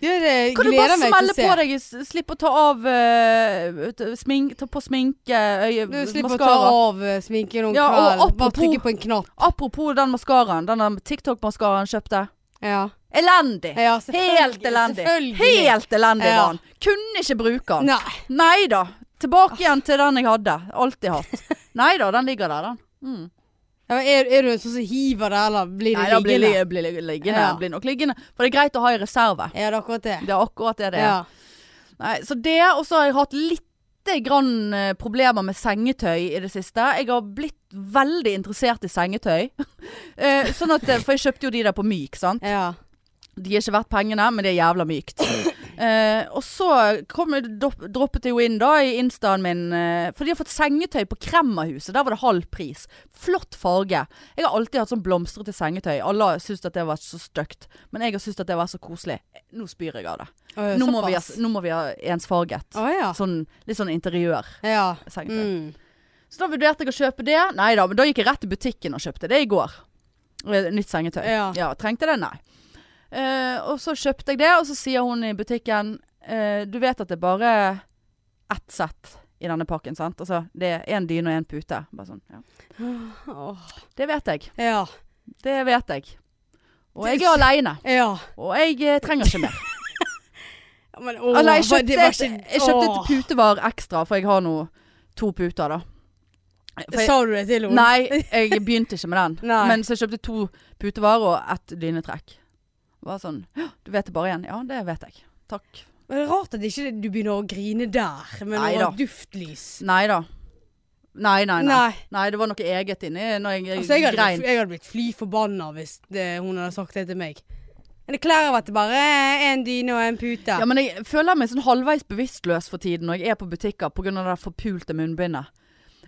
[SPEAKER 2] Ja, det
[SPEAKER 1] Kan du
[SPEAKER 2] gleder
[SPEAKER 1] bare
[SPEAKER 2] meg til
[SPEAKER 1] smelle
[SPEAKER 2] å se.
[SPEAKER 1] på deg? s- Slipp å ta av eh, t- smink, Ta på sminke, øye,
[SPEAKER 2] Du slipper å ta
[SPEAKER 1] maskara.
[SPEAKER 2] av eh, sminken om
[SPEAKER 1] Ja, og
[SPEAKER 2] kvelden. Bare
[SPEAKER 1] apropos-
[SPEAKER 2] trykke på en knapp.
[SPEAKER 1] Apropos den maskaraen. Den TikTok-maskaraen kjøpte.
[SPEAKER 2] Ja.
[SPEAKER 1] Elendig!
[SPEAKER 2] Ja, selvfølgelig,
[SPEAKER 1] Helt elendig.
[SPEAKER 2] Selvfølgelig.
[SPEAKER 1] Helt elendig
[SPEAKER 2] Ja.
[SPEAKER 1] var den. Kunne ikke bruke den.
[SPEAKER 2] Nei.
[SPEAKER 1] Nei da. Tilbake igjen til den jeg hadde. Alltid hatt. Nei da, den ligger der, den. Mm.
[SPEAKER 2] Ja, men er, er du en sånn som hiver det, eller blir det
[SPEAKER 1] Nei, da blir
[SPEAKER 2] liggende?
[SPEAKER 1] li- blir li- liggende.
[SPEAKER 2] Ja.
[SPEAKER 1] Blir nok liggende. For det er greit å ha i reserve.
[SPEAKER 2] Ja, det er akkurat det.
[SPEAKER 1] Det er akkurat det det er.
[SPEAKER 2] Ja.
[SPEAKER 1] Nei, så det, og så har jeg hatt lite grann eh, problemer med sengetøy i det siste. Jeg har blitt veldig interessert i sengetøy. Eh, sånn at, eh, for jeg kjøpte jo de der på myk, sant.
[SPEAKER 2] ja.
[SPEAKER 1] De er ikke verdt pengene, men det er jævla mykt. Eh, og så kom, jeg- dop- droppet jeg jo inn da i instaen min, eh, for de har fått sengetøy på Kremmerhuset. Der var det halv pris. Flott farge. Jeg har alltid hatt sånn blomstrete sengetøy. Alle har syntes at det var så stygt, men jeg har syntes at det var så koselig. Nå spyr jeg av det.
[SPEAKER 2] Å, ja,
[SPEAKER 1] Nå må, vi ha,
[SPEAKER 2] såpass.
[SPEAKER 1] nå må vi ha ensfarget.
[SPEAKER 2] Å ja.
[SPEAKER 1] Sånn, litt sånn interiørsengetøy.
[SPEAKER 2] Ja. Ah. Mm.
[SPEAKER 1] Så da vurderte jeg å kjøpe det. Nei da, men da gikk jeg rett til butikken og kjøpte det i går. Eh, Nytt sengetøy.
[SPEAKER 2] Ja.
[SPEAKER 1] Trengte det? Nei. Eh, og så kjøpte jeg det, og så sier hun i butikken eh, Du vet at det er bare ett sett i denne pakken, sant? Altså det er én dyne og én pute. Bare sånn. Ja.
[SPEAKER 2] Åh.
[SPEAKER 1] Det vet jeg.
[SPEAKER 2] Ja.
[SPEAKER 1] Det vet jeg. Og jeg er aleine.
[SPEAKER 2] Ja.
[SPEAKER 1] Og jeg eh, trenger ikke mer.
[SPEAKER 2] Ja, Men, åh,
[SPEAKER 1] Eller jeg
[SPEAKER 2] var- det
[SPEAKER 1] kjøpte,
[SPEAKER 2] var
[SPEAKER 1] et,
[SPEAKER 2] ikke-
[SPEAKER 1] jeg kjøpte
[SPEAKER 2] åh.
[SPEAKER 1] et putevar ekstra, for jeg har nå to puter, da. For jeg-
[SPEAKER 2] Sa du det til henne?
[SPEAKER 1] Nei, jeg begynte ikke med den.
[SPEAKER 2] Nei.
[SPEAKER 1] Men så jeg kjøpte to putevarer og ett dynetrekk. Var sånn «Hå, Du vet det bare igjen. Ja, det vet jeg. Takk.
[SPEAKER 2] Men det er rart at ikke du begynner å grine der, men
[SPEAKER 1] Nei
[SPEAKER 2] over
[SPEAKER 1] da.
[SPEAKER 2] duftlys.
[SPEAKER 1] Nei da. Nei, nei, nei.
[SPEAKER 2] Nei.
[SPEAKER 1] Nei, det var noe eget inni når jeg,
[SPEAKER 2] Altså, jeg, hadde,
[SPEAKER 1] grein.
[SPEAKER 2] blitt- jeg hadde blitt fly forbanna hvis det, hun hadde sagt det til meg. Men det klærer at det bare er en dyne og en pute.
[SPEAKER 1] Ja, men jeg føler meg sånn halvveis bevisstløs for tiden når jeg er på butikker pga. det der forpulte munnbindet.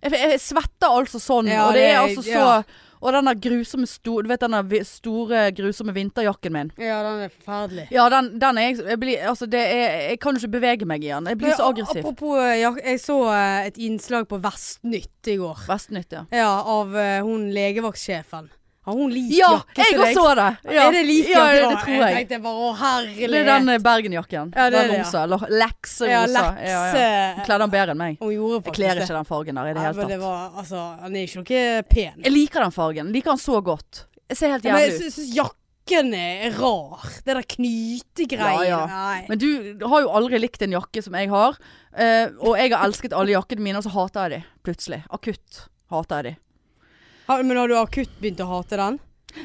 [SPEAKER 1] Jeg, jeg svetter altså sånn,
[SPEAKER 2] Ja,
[SPEAKER 1] og det er
[SPEAKER 2] det-
[SPEAKER 1] altså så
[SPEAKER 2] ja.
[SPEAKER 1] Og den der grusomme sto, Du vet den der vi- store, grusomme vinterjakken min.
[SPEAKER 2] Ja, den er forferdelig.
[SPEAKER 1] Ja, den, den er jeg, jeg blir, Altså, det er Jeg kan jo ikke bevege meg i den. Jeg blir så aggressiv.
[SPEAKER 2] Apropos, ja, jeg så eh, et innslag på Vestnytt i går.
[SPEAKER 1] Vestnytt, ja.
[SPEAKER 2] Ja, av eh, hun legevaktsjefen. Har hun lik
[SPEAKER 1] Ja,
[SPEAKER 2] jakke
[SPEAKER 1] jeg
[SPEAKER 2] til
[SPEAKER 1] også
[SPEAKER 2] deg?
[SPEAKER 1] så det. Ja.
[SPEAKER 2] Er det lik
[SPEAKER 1] ja,
[SPEAKER 2] jakke?
[SPEAKER 1] det,
[SPEAKER 2] da?
[SPEAKER 1] det tror jeg.
[SPEAKER 2] tenkte bare å
[SPEAKER 1] Det er
[SPEAKER 2] herlighet.
[SPEAKER 1] den eh, Bergen-jakken.
[SPEAKER 2] Ja, det er
[SPEAKER 1] den
[SPEAKER 2] det, ja.
[SPEAKER 1] rosa. Eller lekserosa.
[SPEAKER 2] ja,
[SPEAKER 1] Ja,
[SPEAKER 2] lekse.
[SPEAKER 1] ja. Hun Kledde den bedre enn meg.
[SPEAKER 2] Hun gjorde
[SPEAKER 1] Jeg
[SPEAKER 2] faktisk
[SPEAKER 1] kler ikke den fargen der i det
[SPEAKER 2] Nei,
[SPEAKER 1] hele
[SPEAKER 2] men det
[SPEAKER 1] tatt.
[SPEAKER 2] var, altså, han er jo ikke noe pen.
[SPEAKER 1] Jeg liker den fargen. Liker den så godt. Jeg ser helt
[SPEAKER 2] Ja, Men jeg
[SPEAKER 1] jævlig ut.
[SPEAKER 2] sy- syns jakken er rar. Det der knytegreiene.
[SPEAKER 1] Ja, ja.
[SPEAKER 2] Nei.
[SPEAKER 1] Men du har jo aldri likt en jakke som jeg har. eh, og jeg har elsket alle jakkene mine, og så hater jeg de plutselig. Akutt hater jeg de.
[SPEAKER 2] Har, men har du akutt begynt å hate den?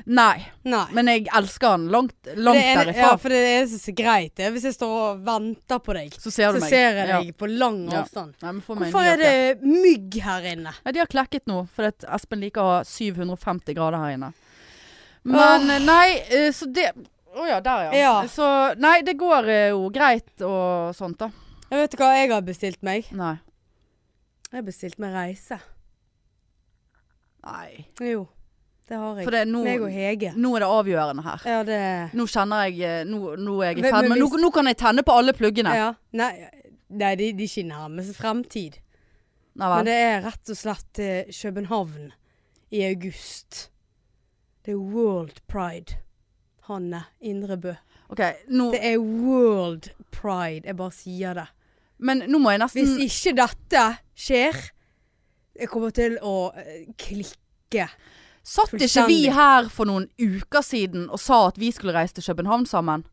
[SPEAKER 1] Nei,
[SPEAKER 2] Nei.
[SPEAKER 1] men jeg elsker den langt, langt
[SPEAKER 2] det er,
[SPEAKER 1] derifra.
[SPEAKER 2] ja, for det eneste som er greit, det er hvis jeg står og venter på deg.
[SPEAKER 1] Så ser
[SPEAKER 2] Så
[SPEAKER 1] du meg.
[SPEAKER 2] ser jeg
[SPEAKER 1] Ja.
[SPEAKER 2] deg på lang
[SPEAKER 1] Ja.
[SPEAKER 2] avstand.
[SPEAKER 1] Nei, men få meg en
[SPEAKER 2] Hvorfor
[SPEAKER 1] ny
[SPEAKER 2] er
[SPEAKER 1] jakke.
[SPEAKER 2] det mygg her inne?
[SPEAKER 1] Nei, de har klekket nå, fordi at Espen liker å ha 750 grader her inne. Men eh, nei, eh, så det Å ja, der ja.
[SPEAKER 2] Ja.
[SPEAKER 1] Så nei, det går eh, jo greit og sånt, da.
[SPEAKER 2] Jeg vet du hva jeg har bestilt meg?
[SPEAKER 1] Nei.
[SPEAKER 2] Jeg har bestilt meg reise.
[SPEAKER 1] nei.
[SPEAKER 2] Jo, det har jeg.
[SPEAKER 1] For det, er nå,
[SPEAKER 2] meg og Hege.
[SPEAKER 1] nå er det avgjørende her.
[SPEAKER 2] Ja, det
[SPEAKER 1] Nå kjenner jeg eh, Nå, nå er jeg i
[SPEAKER 2] Men-
[SPEAKER 1] ferd
[SPEAKER 2] men
[SPEAKER 1] med nå,
[SPEAKER 2] hvis-
[SPEAKER 1] nå kan jeg tenne på alle pluggene.
[SPEAKER 2] ja. Nei, nei de, de er ikke nærmest fremtid.
[SPEAKER 1] Nei vel.
[SPEAKER 2] Men det er rett og slett eh, København i august. Det er World Pride. Hanne Indrebø.
[SPEAKER 1] OK, nå
[SPEAKER 2] Det er World Pride. Jeg bare sier det.
[SPEAKER 1] Men nå må jeg
[SPEAKER 2] Hvis
[SPEAKER 1] nesten
[SPEAKER 2] ikke dette skjer, jeg kommer til å eh, klikke.
[SPEAKER 1] Satt ikke vi
[SPEAKER 2] fullstendig.
[SPEAKER 1] her for noen uker siden og sa at vi skulle reise til København sammen?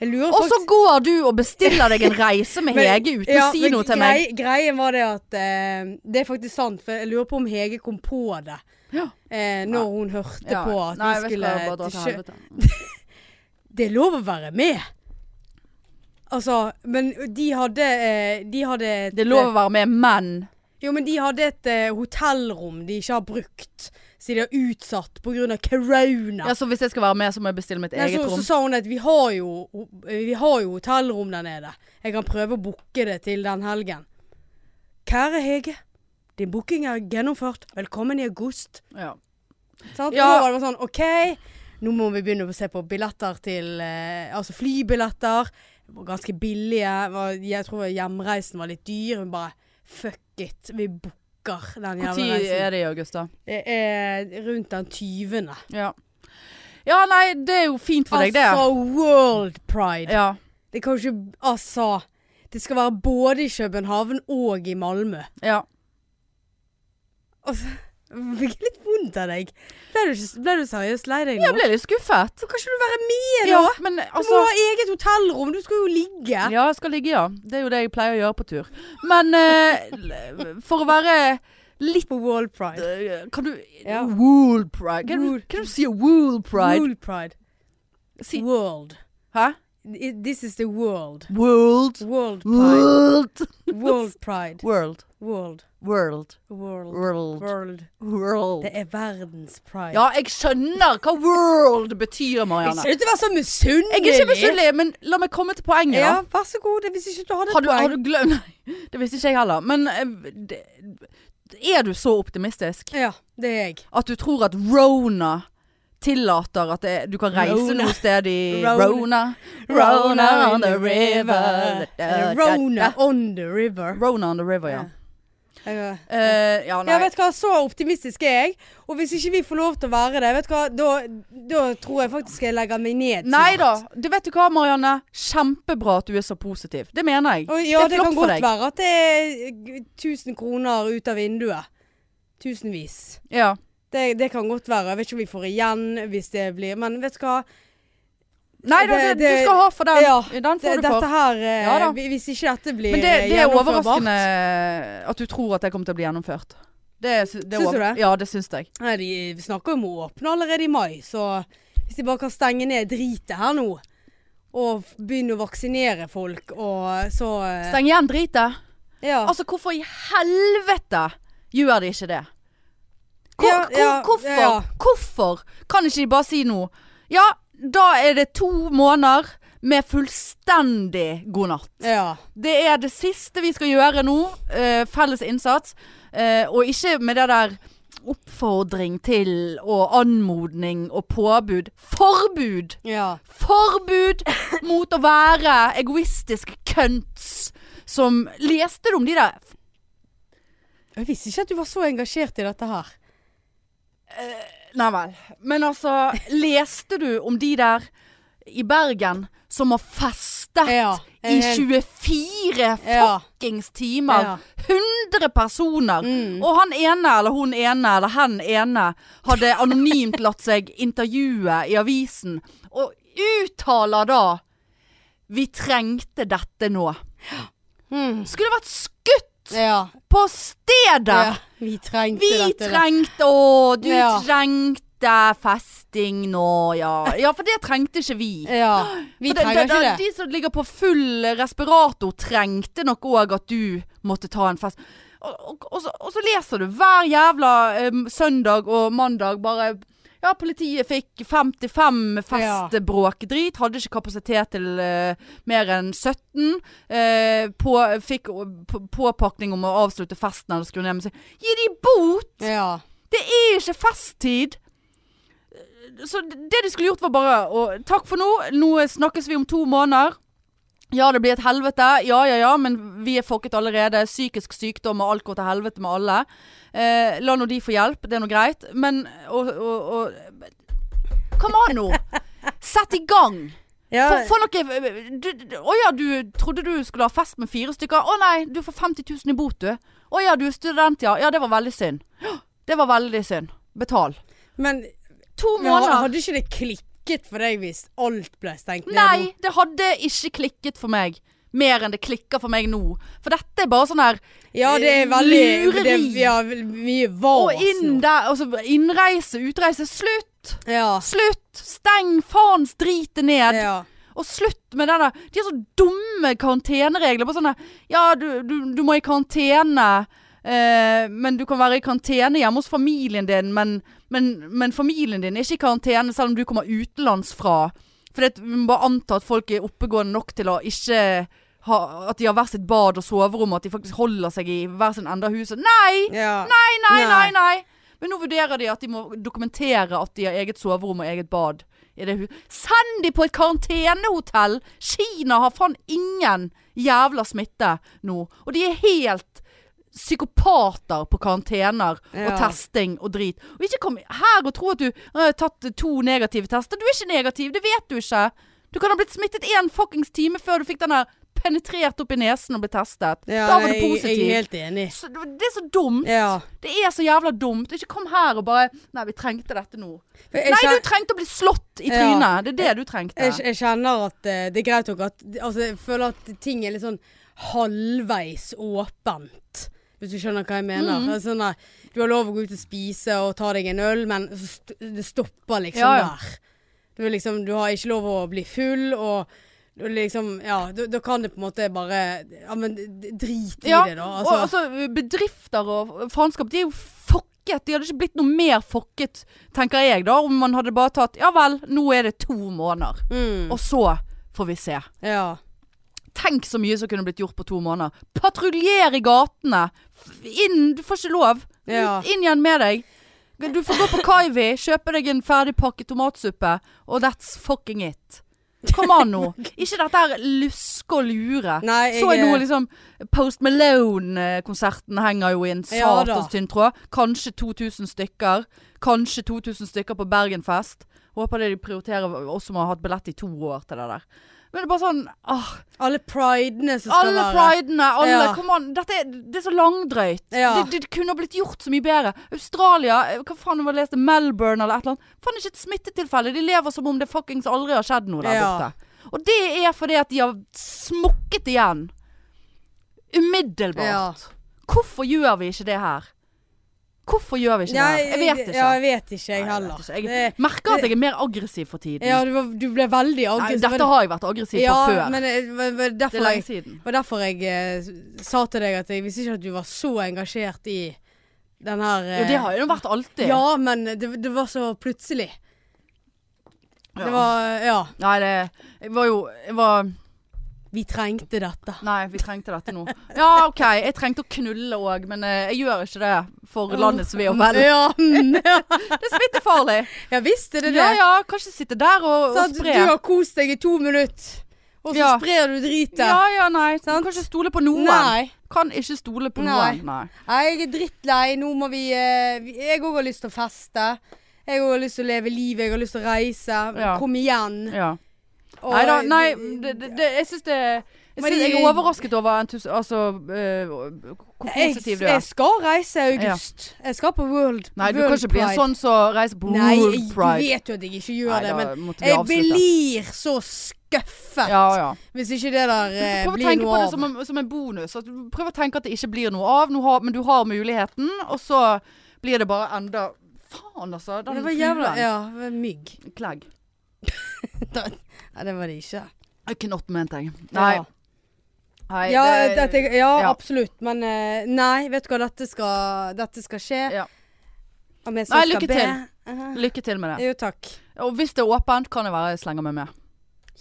[SPEAKER 2] Jeg lurer
[SPEAKER 1] Og så går du og bestiller deg en reise med
[SPEAKER 2] Men-
[SPEAKER 1] Hege uten
[SPEAKER 2] ja,
[SPEAKER 1] å si
[SPEAKER 2] men
[SPEAKER 1] noe til meg.
[SPEAKER 2] grei- Greien var det at eh, Det er faktisk sant, for jeg lurer på om Hege kom på det.
[SPEAKER 1] Ja.
[SPEAKER 2] Eh, når hun hørte
[SPEAKER 1] Ja,
[SPEAKER 2] på at
[SPEAKER 1] nei,
[SPEAKER 2] vi
[SPEAKER 1] vet du
[SPEAKER 2] skulle
[SPEAKER 1] hva, jeg bare drar
[SPEAKER 2] til
[SPEAKER 1] til
[SPEAKER 2] sjø.
[SPEAKER 1] helvete.
[SPEAKER 2] Det er lov å være med. Altså, men de hadde eh, De hadde et, eh,
[SPEAKER 1] Det er lov å være med, men
[SPEAKER 2] Jo, men de hadde et eh, hotellrom de ikke har brukt. Så de har utsatt pga. corona.
[SPEAKER 1] ja, Så hvis jeg skal være med, så må jeg bestille mitt
[SPEAKER 2] Nei,
[SPEAKER 1] eget
[SPEAKER 2] så, så
[SPEAKER 1] rom.
[SPEAKER 2] sa hun at vi har, jo, vi har jo hotellrom der nede. Jeg kan prøve å booke det til den helgen. Kjære Hege, din booking er gjennomført. Velkommen i august.
[SPEAKER 1] Ja.
[SPEAKER 2] Sant?
[SPEAKER 1] Ja.
[SPEAKER 2] Og Da var det bare sånn OK, nå må vi begynne å se på billetter til eh, Altså flybilletter. Det var ganske billige. Var, jeg tror hjemreisen var litt dyr. Hun bare fuck it, vi booker den
[SPEAKER 1] Når
[SPEAKER 2] jævla reisen.
[SPEAKER 1] er det i august, da?
[SPEAKER 2] Det er rundt den 20.
[SPEAKER 1] Ja. ja, nei, det er jo fint for deg, det.
[SPEAKER 2] Altså World Pride.
[SPEAKER 1] Ja.
[SPEAKER 2] Det kan jo ikke Altså. Det skal være både i København og i Malmö.
[SPEAKER 1] ja.
[SPEAKER 2] Altså, jeg fikk litt vondt av deg. Ble du, ikke- ble du seriøst lei deg nå?
[SPEAKER 1] Jeg ble litt skuffet.
[SPEAKER 2] Så kan ikke du være med, da?
[SPEAKER 1] Ja, men
[SPEAKER 2] du må
[SPEAKER 1] altså
[SPEAKER 2] ha eget hotellrom. Du skal jo ligge.
[SPEAKER 1] Ja, jeg skal ligge, ja. Det er jo det jeg pleier å gjøre på tur. Men eh, for å være litt
[SPEAKER 2] På World Pride.
[SPEAKER 1] eh, Kan du
[SPEAKER 2] Ja.
[SPEAKER 1] Wool pride? Kan du,
[SPEAKER 2] Wool-
[SPEAKER 1] kan du si wool pride?
[SPEAKER 2] World Pride.
[SPEAKER 1] Si,
[SPEAKER 2] World.
[SPEAKER 1] hæ?
[SPEAKER 2] I- This is the world.
[SPEAKER 1] World.
[SPEAKER 2] World Pride.
[SPEAKER 1] World.
[SPEAKER 2] World Pride.
[SPEAKER 1] World.
[SPEAKER 2] World.
[SPEAKER 1] World.
[SPEAKER 2] World.
[SPEAKER 1] World.
[SPEAKER 2] World.
[SPEAKER 1] World.
[SPEAKER 2] Det er verdens pride.
[SPEAKER 1] Ja, jeg skjønner hva world betyr,
[SPEAKER 2] Jeg
[SPEAKER 1] Marianne.
[SPEAKER 2] ser ut til å være så misunnelig.
[SPEAKER 1] Jeg er ikke misunnelig, men la meg komme til poenget.
[SPEAKER 2] Ja,
[SPEAKER 1] da.
[SPEAKER 2] vær så god. Hvis ikke du hadde
[SPEAKER 1] Har du,
[SPEAKER 2] poeng.
[SPEAKER 1] har du glemt Nei, det visste ikke jeg heller. Men eh, det, er du så optimistisk
[SPEAKER 2] Ja, det er jeg.
[SPEAKER 1] at du tror at Rona tillater at det, du kan reise
[SPEAKER 2] Rona.
[SPEAKER 1] noe sted i
[SPEAKER 2] Rona.
[SPEAKER 1] Rona. Rona on the river. Da, da, da.
[SPEAKER 2] Rona on the river.
[SPEAKER 1] Rona on the river, ja.
[SPEAKER 2] Ja. Jeg,
[SPEAKER 1] Eh, ja, nei.
[SPEAKER 2] ja, vet du hva, så optimistisk er jeg. Og hvis ikke vi får lov til å være det, vet du hva, da, da tror jeg faktisk jeg legger meg ned snart.
[SPEAKER 1] Nei da. Du vet du hva, Marianne. Kjempebra at du er så positiv. Det mener jeg.
[SPEAKER 2] Og, ja, det,
[SPEAKER 1] det er flott
[SPEAKER 2] kan
[SPEAKER 1] for
[SPEAKER 2] godt
[SPEAKER 1] deg.
[SPEAKER 2] være at det er 1000 kroner ut av vinduet. Tusenvis.
[SPEAKER 1] Ja.
[SPEAKER 2] Det, det kan godt være. Jeg vet ikke om vi får igjen hvis det blir Men vet du hva,
[SPEAKER 1] Nei da, det,
[SPEAKER 2] Det- det-
[SPEAKER 1] du skal ha for den.
[SPEAKER 2] Ja,
[SPEAKER 1] den
[SPEAKER 2] det,
[SPEAKER 1] får du for.
[SPEAKER 2] dette her eh,
[SPEAKER 1] Ja da.
[SPEAKER 2] vi- Hvis ikke dette blir
[SPEAKER 1] Men det, det er
[SPEAKER 2] gjennomførbart-
[SPEAKER 1] overraskende at du tror at det kommer til å bli gjennomført. Det, er- det, er
[SPEAKER 2] Syns du
[SPEAKER 1] over-
[SPEAKER 2] det?
[SPEAKER 1] Ja, det syns jeg.
[SPEAKER 2] Nei, de snakker jo om å åpne allerede i mai, så hvis de bare kan stenge ned dritet her nå, og f- begynne å vaksinere folk, og så eh,
[SPEAKER 1] Steng igjen dritet.
[SPEAKER 2] ja.
[SPEAKER 1] Altså, hvorfor i helvete gjør de ikke det? Hvor,
[SPEAKER 2] Ja,
[SPEAKER 1] hvor,
[SPEAKER 2] ja,
[SPEAKER 1] hvorfor?
[SPEAKER 2] ja, ja.
[SPEAKER 1] Hvorfor kan ikke de bare si noe? Ja, da er det to måneder med fullstendig god natt.
[SPEAKER 2] ja.
[SPEAKER 1] Det er det siste vi skal gjøre nå. eh, felles innsats. Eh, og ikke med det der oppfordring til og anmodning og påbud. Forbud!
[SPEAKER 2] ja.
[SPEAKER 1] Forbud mot å være egoistiske cunts som Leste du om de der?
[SPEAKER 2] Jeg visste ikke at du var så engasjert i dette her.
[SPEAKER 1] Nei vel. Men altså, leste du om de der i Bergen som har festet
[SPEAKER 2] Ja,
[SPEAKER 1] i
[SPEAKER 2] jeg-
[SPEAKER 1] 24
[SPEAKER 2] Ja.
[SPEAKER 1] fuckings timer? 100 personer!
[SPEAKER 2] Mm.
[SPEAKER 1] Og han ene, eller hun ene, eller hen ene hadde anonymt latt seg intervjue i avisen, og uttaler da Vi trengte dette nå.
[SPEAKER 2] Mm.
[SPEAKER 1] Skulle vært skutt
[SPEAKER 2] Ja.
[SPEAKER 1] på stedet!
[SPEAKER 2] ja. Vi trengte
[SPEAKER 1] Vi
[SPEAKER 2] dette. da.
[SPEAKER 1] trengte Å, du
[SPEAKER 2] Ja.
[SPEAKER 1] trengte festing nå, ja. Ja, for det trengte ikke vi.
[SPEAKER 2] Ja. Eh, Vi
[SPEAKER 1] For det-
[SPEAKER 2] trenger
[SPEAKER 1] det-
[SPEAKER 2] ikke
[SPEAKER 1] det-
[SPEAKER 2] det.
[SPEAKER 1] De som ligger på full respirator trengte nok òg at du måtte ta en fest. Og, og, og, så, og så leser du hver jævla em, søndag og mandag bare ja, politiet fikk 55 festbråkdrit. Hadde ikke kapasitet til eh, mer enn 17. eh, på, fikk eh, på, påpakning om å avslutte festen eller skru ned musikk. Gi de bot!
[SPEAKER 2] Ja.
[SPEAKER 1] Det er ikke festtid! Så det de skulle gjort var bare å Takk for nå, nå snakkes vi om to måneder. Ja, det blir et helvete. Ja, ja, ja, men vi er fucket allerede. Psykisk sykdom og alt går til helvete med alle. Eh, la nå de få hjelp, det er nå greit. Men og, og, og Come on nå! Sett i gang!
[SPEAKER 2] ja.
[SPEAKER 1] Få få noe eh, du- du- Å ja, du trodde du skulle ha fest med fire stykker. Å nei, du får 50 000 i bot, du. Å ja, du er student, ja. Ja, det var veldig synd. Det var veldig synd. Betal.
[SPEAKER 2] Men
[SPEAKER 1] To
[SPEAKER 2] men
[SPEAKER 1] måneder.
[SPEAKER 2] hadde ikke det klikket klikket for deg hvis alt ble stengt ned?
[SPEAKER 1] Nei, det hadde ikke klikket for meg. Mer enn det klikker for meg nå. For dette er bare sånn her
[SPEAKER 2] nå? Ja, det er veldig
[SPEAKER 1] Lureri.
[SPEAKER 2] det, Vi har vel mye
[SPEAKER 1] Og
[SPEAKER 2] vas
[SPEAKER 1] inn
[SPEAKER 2] nå.
[SPEAKER 1] der. Altså, innreise, utreise. Slutt!
[SPEAKER 2] Ja.
[SPEAKER 1] Slutt! Steng faens dritet ned.
[SPEAKER 2] ja.
[SPEAKER 1] Og slutt med den der De er så dumme karanteneregler. Bare sånn der, Ja, du, du, du må i karantene. eh, men du kan være i karantene hjemme hos familien din, men, men, men familien din er ikke i karantene selv om du kommer utenlands fra. For det, vi må bare anta at folk er oppegående nok til å ikke ha At de har hver sitt bad og soverom, og at de faktisk holder seg i hver sin ende av huset. Nei!
[SPEAKER 2] ja.
[SPEAKER 1] Nei, nei, nei,
[SPEAKER 2] Nei.
[SPEAKER 1] nei! Men nå vurderer de at de må dokumentere at de har eget soverom og eget bad. I det hu- Send de på et karantenehotell! Kina har faen ingen jævla smitte nå. Og de er helt psykopater på karantener og
[SPEAKER 2] Ja.
[SPEAKER 1] testing og drit. Og ikke kom her og tro at du «Å, jeg har tatt to negative tester. Du er ikke negativ, det vet du ikke. Du kan ha blitt smittet én fuckings time før du fikk den her penetrert opp i nesen og ble testet.
[SPEAKER 2] Ja,
[SPEAKER 1] da var
[SPEAKER 2] nei,
[SPEAKER 1] du
[SPEAKER 2] jeg-
[SPEAKER 1] positiv.
[SPEAKER 2] Jeg er helt enig.
[SPEAKER 1] Så, det er så dumt.
[SPEAKER 2] Ja.
[SPEAKER 1] Det er så jævla dumt. Ikke kom her og bare Nei, vi trengte dette nå.
[SPEAKER 2] For Jeg,
[SPEAKER 1] Nei,
[SPEAKER 2] kjen-
[SPEAKER 1] du trengte å bli slått i
[SPEAKER 2] Ja.
[SPEAKER 1] trynet. Det er det du trengte.
[SPEAKER 2] jeg, jeg kjenner at eh, det er greit nok at altså, Jeg føler at ting er litt sånn halvveis åpent. Hvis du skjønner hva jeg mener.
[SPEAKER 1] Mm.
[SPEAKER 2] Det er Sånn der, du har lov å gå ut og spise og ta deg en øl, men så st det stopper liksom
[SPEAKER 1] Ja, ja.
[SPEAKER 2] der. Du, er liksom, du har ikke lov å bli full, og du er liksom Ja, da da kan det på en måte bare Ja, men d- drit i
[SPEAKER 1] Ja,
[SPEAKER 2] det, da.
[SPEAKER 1] og altså, bedrifter og faenskap, de er jo fucket. De hadde ikke blitt noe mer fucket, tenker jeg da, om man hadde bare tatt Ja vel, nå er det to måneder.
[SPEAKER 2] mm,
[SPEAKER 1] Og så får vi se.
[SPEAKER 2] ja.
[SPEAKER 1] Tenk så mye som kunne blitt gjort på to måneder. Patruljer i gatene! F- Inn! Du får ikke lov.
[SPEAKER 2] Ja.
[SPEAKER 1] Ut- Inn igjen med deg. Du får gå på Kaivi, kjøpe deg en ferdigpakket tomatsuppe, og that's fucking it. Kom an nå. Ikke dette her luske og lure.
[SPEAKER 2] Nei, jeg
[SPEAKER 1] Så jeg noe liksom Post Malone-konserten henger jo i en
[SPEAKER 2] Ja da.
[SPEAKER 1] satans tynn tråd. Kanskje 2000 stykker. Kanskje 2000 stykker på Bergenfest. Håper det de prioriterer oss som har hatt billett i to år til det der. Men det er bare sånn ah,
[SPEAKER 2] Alle pridene som skal
[SPEAKER 1] Alle
[SPEAKER 2] være
[SPEAKER 1] pridene, alle
[SPEAKER 2] Ja.
[SPEAKER 1] Come on. Dette er, det er så langdrøyt.
[SPEAKER 2] Ja.
[SPEAKER 1] Det, det kunne blitt gjort så mye bedre. Australia, eh, hva faen var det jeg leste? Melbourne eller et eller annet. Faen ikke et smittetilfelle. De lever som om det fuckings aldri har skjedd noe der
[SPEAKER 2] Ja.
[SPEAKER 1] borte. Og det er fordi at de har smukket igjen. Umiddelbart.
[SPEAKER 2] Ja.
[SPEAKER 1] Hvorfor gjør vi ikke det her? Hvorfor gjør vi ikke
[SPEAKER 2] Ja,
[SPEAKER 1] det her? Jeg vet ikke.
[SPEAKER 2] Ja, jeg vet ikke, jeg
[SPEAKER 1] Nei, jeg
[SPEAKER 2] heller.
[SPEAKER 1] vet ikke.
[SPEAKER 2] Det-
[SPEAKER 1] Jeg merker at jeg er mer aggressiv for tiden.
[SPEAKER 2] Ja, du, var, du ble veldig
[SPEAKER 1] Nei,
[SPEAKER 2] aggressiv.
[SPEAKER 1] dette har jeg vært aggressiv
[SPEAKER 2] ja,
[SPEAKER 1] for før.
[SPEAKER 2] Men det var- var
[SPEAKER 1] Det er
[SPEAKER 2] derfor jeg,
[SPEAKER 1] lenge siden.
[SPEAKER 2] var derfor jeg eh, sa til deg at jeg visste ikke at du var så engasjert i den her eh,
[SPEAKER 1] Jo, det har jeg jo vært alltid.
[SPEAKER 2] Ja, men det, det var så plutselig.
[SPEAKER 1] Ja.
[SPEAKER 2] Det var Ja.
[SPEAKER 1] Nei, det jeg var jo jeg var,
[SPEAKER 2] Vi trengte dette.
[SPEAKER 1] Nei, vi trengte dette nå. Ja, OK, jeg trengte å knulle òg, men eh, jeg gjør ikke det for landets ve og vel.
[SPEAKER 2] Ja, mm, ja.
[SPEAKER 1] Det er smittefarlig.
[SPEAKER 2] ja visst er det det.
[SPEAKER 1] Ja ja, kan ikke sitte der og,
[SPEAKER 2] Sant?
[SPEAKER 1] og
[SPEAKER 2] du
[SPEAKER 1] spre.
[SPEAKER 2] har kost deg i to minutter, og så
[SPEAKER 1] Ja.
[SPEAKER 2] sprer du dritet.
[SPEAKER 1] Ja ja, nei. Du kan ikke stole på noen.
[SPEAKER 2] Nei.
[SPEAKER 1] Kan ikke stole på
[SPEAKER 2] Nei.
[SPEAKER 1] noen. Nei.
[SPEAKER 2] Nei, jeg er drittlei. Nå må vi eh, vi- Jeg òg har lyst til å feste. Jeg òg har lyst til å leve livet. Jeg har lyst til å reise.
[SPEAKER 1] Ja.
[SPEAKER 2] Kom igjen.
[SPEAKER 1] Ja.
[SPEAKER 2] Og-
[SPEAKER 1] Nei da, nei. Det, det, det, jeg syns det jeg,
[SPEAKER 2] Men
[SPEAKER 1] synes, jeg
[SPEAKER 2] de-
[SPEAKER 1] er overrasket over entus... Altså eh, hvor positiv
[SPEAKER 2] jeg,
[SPEAKER 1] du er.
[SPEAKER 2] jeg skal reise i august. Jeg skal på World
[SPEAKER 1] Nei, du
[SPEAKER 2] World
[SPEAKER 1] kan ikke bli en
[SPEAKER 2] Pride.
[SPEAKER 1] sånn som reiser på
[SPEAKER 2] Nei,
[SPEAKER 1] World
[SPEAKER 2] jeg- du
[SPEAKER 1] Pride.
[SPEAKER 2] vet jo at jeg ikke gjør
[SPEAKER 1] Nei,
[SPEAKER 2] det,
[SPEAKER 1] da
[SPEAKER 2] men
[SPEAKER 1] måtte vi
[SPEAKER 2] jeg
[SPEAKER 1] avslutte.
[SPEAKER 2] blir så skuffet
[SPEAKER 1] Ja, ja.
[SPEAKER 2] hvis ikke det der eh,
[SPEAKER 1] Prøv å
[SPEAKER 2] blir
[SPEAKER 1] tenke på
[SPEAKER 2] noe
[SPEAKER 1] det
[SPEAKER 2] av.
[SPEAKER 1] som en, som en bonus. At du prøv å tenke at det ikke blir noe av, nå har, men du har muligheten. Og så blir det bare enda Faen, altså. Den
[SPEAKER 2] det var Mm, jævla
[SPEAKER 1] fluen.
[SPEAKER 2] Ja, det var mygg.
[SPEAKER 1] Klegg.
[SPEAKER 2] Nei, det var det ikke.
[SPEAKER 1] Knott, mente jeg. Nei.
[SPEAKER 2] Ja.
[SPEAKER 1] Nei
[SPEAKER 2] Ja,
[SPEAKER 1] det-
[SPEAKER 2] dette, ja,
[SPEAKER 1] ja.
[SPEAKER 2] absolutt. Men eh, nei, vet du hva, dette skal, dette skal skje.
[SPEAKER 1] Ja.
[SPEAKER 2] Om jeg så
[SPEAKER 1] Nei,
[SPEAKER 2] skal
[SPEAKER 1] lykke
[SPEAKER 2] be.
[SPEAKER 1] til.
[SPEAKER 2] Eh,
[SPEAKER 1] Lykke til med det.
[SPEAKER 2] Jo, takk.
[SPEAKER 1] Og hvis det er åpent, kan det være jeg slenger meg med.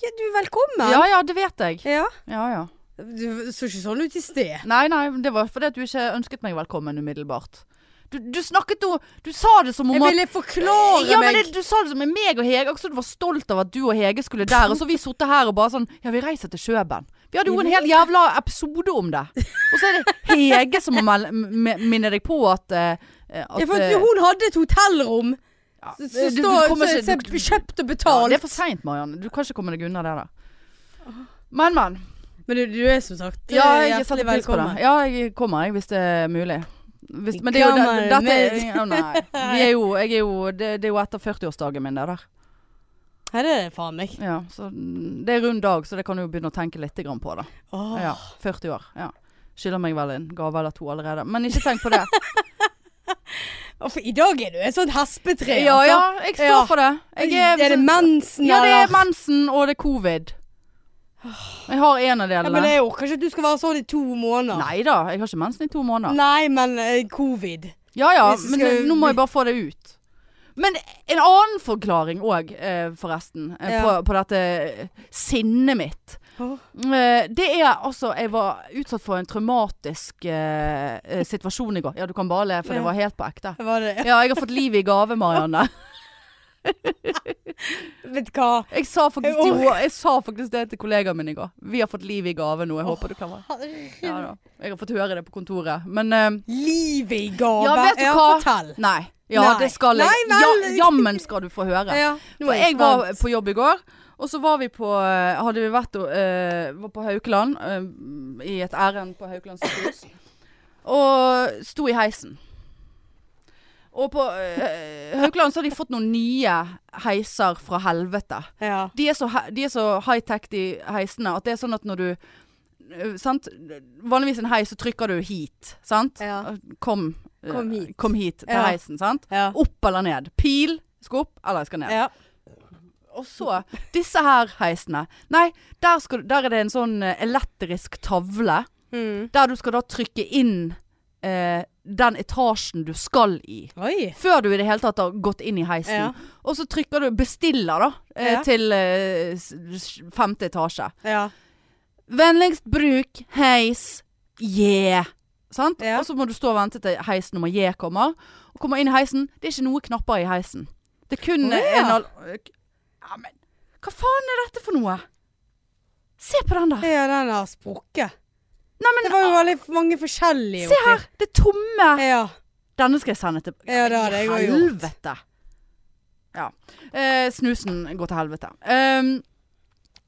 [SPEAKER 2] Ja, du, velkommen.
[SPEAKER 1] Ja ja, det vet jeg.
[SPEAKER 2] Ja.
[SPEAKER 1] Ja ja.
[SPEAKER 2] Du så ikke sånn ut i sted.
[SPEAKER 1] Nei nei, det var fordi at du ikke ønsket meg velkommen umiddelbart. Du, du snakket jo Du sa det som om
[SPEAKER 2] Jeg
[SPEAKER 1] at
[SPEAKER 2] ville forklare
[SPEAKER 1] ja,
[SPEAKER 2] meg.
[SPEAKER 1] men det, du sa det som med meg og Hege, akkurat som du var stolt av at du og Hege skulle der. Og så vi sittet her og bare sånn Ja, vi reiser til Kjøben. Vi hadde jo en hel jævla episode om det. Og så er det Hege som må mel- m- minne deg på at, eh, at
[SPEAKER 2] ja, for
[SPEAKER 1] eh,
[SPEAKER 2] hun hadde et hotellrom.
[SPEAKER 1] ja,
[SPEAKER 2] Så,
[SPEAKER 1] du-
[SPEAKER 2] så,
[SPEAKER 1] du
[SPEAKER 2] stå,
[SPEAKER 1] kommer
[SPEAKER 2] så,
[SPEAKER 1] ikke-
[SPEAKER 2] så
[SPEAKER 1] du-
[SPEAKER 2] jeg
[SPEAKER 1] ja,
[SPEAKER 2] kjøpt og
[SPEAKER 1] Det er
[SPEAKER 2] betalt.
[SPEAKER 1] for seint, Marianne. Du kan ikke komme deg unna det der. Men, men.
[SPEAKER 2] men du, du er som sagt eh,
[SPEAKER 1] Ja, jeg
[SPEAKER 2] hjertelig
[SPEAKER 1] setter pris på det. Ja, jeg kommer, jeg, hvis det er mulig. Hvis, men det er jo
[SPEAKER 2] Kommer
[SPEAKER 1] det- dette
[SPEAKER 2] med-
[SPEAKER 1] ja, Nei. Vi er jo, jeg er jo, det, det er jo etter 40-årsdagen min, det der.
[SPEAKER 2] Nei, det er faen meg.
[SPEAKER 1] Ja, så mm, det er rund dag, så det kan du jo begynne å tenke litt grann på, da.
[SPEAKER 2] Åh.
[SPEAKER 1] Ja, 40 år. Ja. Skylder meg vel en gave eller to allerede. Men ikke tenk på det.
[SPEAKER 2] Å, for I dag er du et sånt hespetre.
[SPEAKER 1] Ja ja, jeg
[SPEAKER 2] Ja.
[SPEAKER 1] står for det. Jeg liksom- sånn-
[SPEAKER 2] Er, det mensen,
[SPEAKER 1] Ja, det er
[SPEAKER 2] eller?
[SPEAKER 1] mensen, og det er covid. Jeg har en av
[SPEAKER 2] Ja, men
[SPEAKER 1] delene.
[SPEAKER 2] jeg orker ikke at du skal være sånn i to måneder.
[SPEAKER 1] Nei da, jeg har ikke mensen i to måneder.
[SPEAKER 2] Nei, men eh, covid.
[SPEAKER 1] Ja ja,
[SPEAKER 2] Hvis du
[SPEAKER 1] men
[SPEAKER 2] skal-
[SPEAKER 1] nå må jeg bare få det ut. Men en annen forklaring òg, eh, forresten, eh,
[SPEAKER 2] Ja.
[SPEAKER 1] på, på dette sinnet mitt.
[SPEAKER 2] Åh.
[SPEAKER 1] Eh, Det er altså Jeg var utsatt for en traumatisk eh, eh, situasjon i går. Ja, du kan bare le, for det var helt på ekte.
[SPEAKER 2] Var det?
[SPEAKER 1] Ja, jeg har fått livet i gave, Marianne.
[SPEAKER 2] Vet du hva?
[SPEAKER 1] Jeg sa faktisk, til,
[SPEAKER 2] Åh.
[SPEAKER 1] henne- jeg sa faktisk det til kollegaen min i går. Vi har fått livet i gave nå. Jeg håper du klarer det. Ja, da. Jeg har fått høre det på kontoret. Men eh,
[SPEAKER 2] Livet i gave.
[SPEAKER 1] Ja, vet du hva?
[SPEAKER 2] fortell.
[SPEAKER 1] nei. Ja,
[SPEAKER 2] Nei.
[SPEAKER 1] det skal jeg.
[SPEAKER 2] Nei, vel.
[SPEAKER 1] Ja, jammen skal du få høre.
[SPEAKER 2] Ja, nå
[SPEAKER 1] For
[SPEAKER 2] er jeg
[SPEAKER 1] jeg var
[SPEAKER 2] spent.
[SPEAKER 1] på jobb i går, og så var vi på eh, Hadde vi vært og, eh, var på Haukeland, eh, i et ærend på Haukeland sykehus, og sto i heisen. Og på eh, Haukeland så har de fått noen nye heiser fra helvete.
[SPEAKER 2] ja.
[SPEAKER 1] De er så, he- de er så high-tech, de heisene, at det er sånn at når du øh, sant? Vanligvis en heis, så trykker du hit. Sant?
[SPEAKER 2] Ja.
[SPEAKER 1] Kom, øh,
[SPEAKER 2] Kom hit.
[SPEAKER 1] kom hit til
[SPEAKER 2] Ja.
[SPEAKER 1] heisen. Sant?
[SPEAKER 2] Ja.
[SPEAKER 1] Opp eller ned. Pil skal opp, eller jeg skal ned.
[SPEAKER 2] ja.
[SPEAKER 1] Og så disse her heisene. Nei, der, skal, du- der er det en sånn eh, elektrisk tavle
[SPEAKER 2] Mm.
[SPEAKER 1] der du skal da trykke inn eh, den etasjen du skal i.
[SPEAKER 2] Oi.
[SPEAKER 1] Før du i det hele tatt har gått inn i heisen.
[SPEAKER 2] Ja.
[SPEAKER 1] Og så trykker du 'bestiller' da, eh,
[SPEAKER 2] Ja.
[SPEAKER 1] til eh, s- s- femte etasje.
[SPEAKER 2] Ja.
[SPEAKER 1] Vennligst bruk heis J. Sant?
[SPEAKER 2] Ja.
[SPEAKER 1] Og så må du stå og vente til heis nummer J kommer. Og kommer inn i heisen. Det er ikke noe knapper i heisen. Det er kun
[SPEAKER 2] Å, ja.
[SPEAKER 1] en al... Ja, men hva faen er dette for noe? Se på den der.
[SPEAKER 2] ja, den har sprukket.
[SPEAKER 1] Nei, men
[SPEAKER 2] Det var jo veldig mange forskjellige
[SPEAKER 1] se her! Det er tomme
[SPEAKER 2] Ja.
[SPEAKER 1] Denne skal jeg sende til
[SPEAKER 2] Ja, det hadde jeg også gjort.
[SPEAKER 1] Helvete! Ja. Eh, snusen går til helvete. Ehm,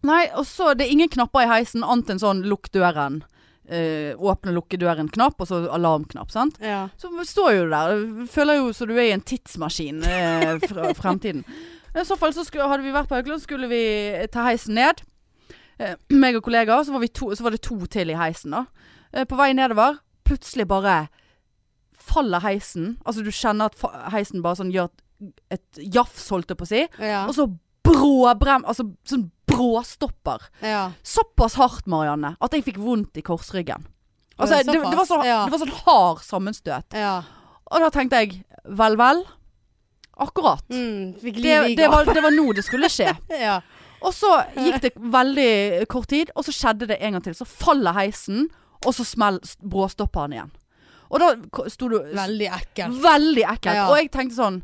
[SPEAKER 1] nei, og så Det er ingen knapper i heisen annet enn sånn lukk døren. Eh, åpne og lukke døren-knapp, og så alarmknapp. sant?
[SPEAKER 2] ja.
[SPEAKER 1] Så står jo du der. Føler jo så du er i en tidsmaskin eh, fra fremtiden. I så fall så skulle, hadde vi vært på Haukeland, skulle vi ta heisen ned. Eh, meg og kollegaer. Så var, vi to, så var det to til i heisen, da. Eh, på vei nedover, plutselig bare faller heisen. Altså du kjenner at fa- heisen bare sånn gjør et- et jafs, holdt jeg på å si.
[SPEAKER 2] Ja.
[SPEAKER 1] Og så bråbrem... Altså sånn bråstopper.
[SPEAKER 2] ja.
[SPEAKER 1] Såpass hardt, Marianne, at jeg fikk vondt i korsryggen. Altså,
[SPEAKER 2] Ja,
[SPEAKER 1] det, det, var så,
[SPEAKER 2] såpass, ja.
[SPEAKER 1] det var sånn hard sammenstøt.
[SPEAKER 2] ja.
[SPEAKER 1] Og da tenkte jeg, vel vel, akkurat.
[SPEAKER 2] Mm,
[SPEAKER 1] Det,
[SPEAKER 2] fikk liv i
[SPEAKER 1] det,
[SPEAKER 2] gave.
[SPEAKER 1] var, det var nå det skulle skje.
[SPEAKER 2] Ja.
[SPEAKER 1] Og så gikk det veldig kort tid, og så skjedde det en gang til. Så faller heisen, og så smell, s- bråstopper han igjen. Og da ko- sto du s-
[SPEAKER 2] Veldig ekkelt.
[SPEAKER 1] veldig ekkelt.
[SPEAKER 2] Ja.
[SPEAKER 1] Og jeg tenkte sånn,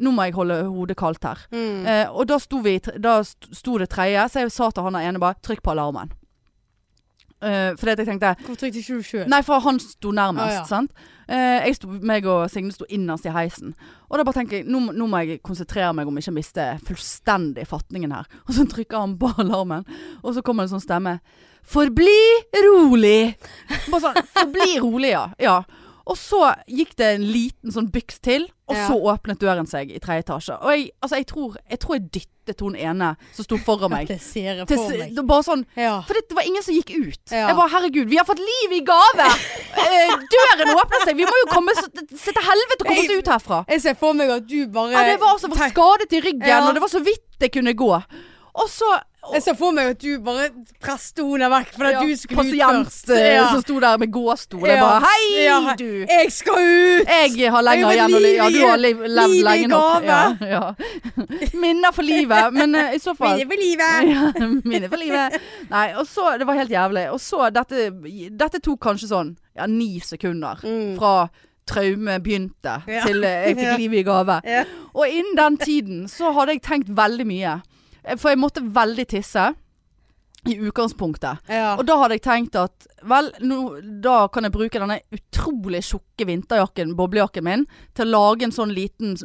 [SPEAKER 1] nå må jeg holde hodet kaldt her.
[SPEAKER 2] Mm.
[SPEAKER 1] Eh, og da sto, vi, i tre- da st- sto det tredje, så jeg sa til han der ene bare, trykk på alarmen. Eh, fordi at jeg tenkte,
[SPEAKER 2] Hvorfor trykte ikke du sjøl?
[SPEAKER 1] Nei, for han sto nærmest,
[SPEAKER 2] Ah, ja.
[SPEAKER 1] sant. Eh, jeg sto, meg og Signe sto innerst i heisen. Og da bare tenker jeg, nå, må- nå må jeg konsentrere meg om ikke å miste fullstendig fatningen her. Og så trykker han på alarmen, og så kommer det en sånn stemme. Forbli rolig! Bare sånn, forbli rolig, ja. ja. Og så gikk det en liten sånn byks til, og
[SPEAKER 2] Ja.
[SPEAKER 1] så åpnet døren seg i tredje etasje. Og jeg, altså, jeg, tror, jeg tror jeg dyttet hun ene som sto foran meg.
[SPEAKER 2] Det ser jeg
[SPEAKER 1] Til,
[SPEAKER 2] for
[SPEAKER 1] s-
[SPEAKER 2] meg.
[SPEAKER 1] bare sånn
[SPEAKER 2] Ja.
[SPEAKER 1] for det var ingen som gikk ut.
[SPEAKER 2] Ja.
[SPEAKER 1] Jeg bare 'herregud, vi har fått liv i gave'! Eh, døren åpner seg! Vi må jo komme oss se til helvete og komme oss ut herfra!
[SPEAKER 2] Jeg ser for meg at du bare
[SPEAKER 1] Ja, det var altså var
[SPEAKER 2] Tenk-
[SPEAKER 1] skadet i ryggen,
[SPEAKER 2] Eh, Ja.
[SPEAKER 1] og det var så vidt jeg kunne gå. Og så
[SPEAKER 2] Jeg ser for meg at du bare presset henne vekk fordi
[SPEAKER 1] Ja,
[SPEAKER 2] at du skulle ut
[SPEAKER 1] pasient,
[SPEAKER 2] først.
[SPEAKER 1] eh,
[SPEAKER 2] Ja.
[SPEAKER 1] som sto der med gåstol. Jeg
[SPEAKER 2] Ja.
[SPEAKER 1] bare 'hei,
[SPEAKER 2] Ja, hei.
[SPEAKER 1] du'.
[SPEAKER 2] Jeg skal ut!
[SPEAKER 1] Jeg har lenger
[SPEAKER 2] Jeg har
[SPEAKER 1] igjen å leve. Ja,
[SPEAKER 2] liv i-
[SPEAKER 1] du har liv- levd
[SPEAKER 2] liv i
[SPEAKER 1] lenge nok.
[SPEAKER 2] gave.
[SPEAKER 1] Ja, ja. Minner for livet. Men eh, i så fall
[SPEAKER 2] Mine for livet!
[SPEAKER 1] Ja, Minne for livet. Nei, og så Det var helt jævlig. Og så dette Dette tok kanskje sånn ja, ni sekunder
[SPEAKER 2] Mm.
[SPEAKER 1] fra traume begynte
[SPEAKER 2] Ja.
[SPEAKER 1] til eh, jeg fikk
[SPEAKER 2] Ja.
[SPEAKER 1] livet i gave.
[SPEAKER 2] Ja.
[SPEAKER 1] Og innen den tiden så hadde jeg tenkt veldig mye. Eh, For jeg måtte veldig tisse. I utgangspunktet.
[SPEAKER 2] Ja.
[SPEAKER 1] Og da hadde jeg tenkt at vel, nå, da kan jeg bruke denne utrolig tjukke vinterjakken, boblejakken min, til å lage en sånn liten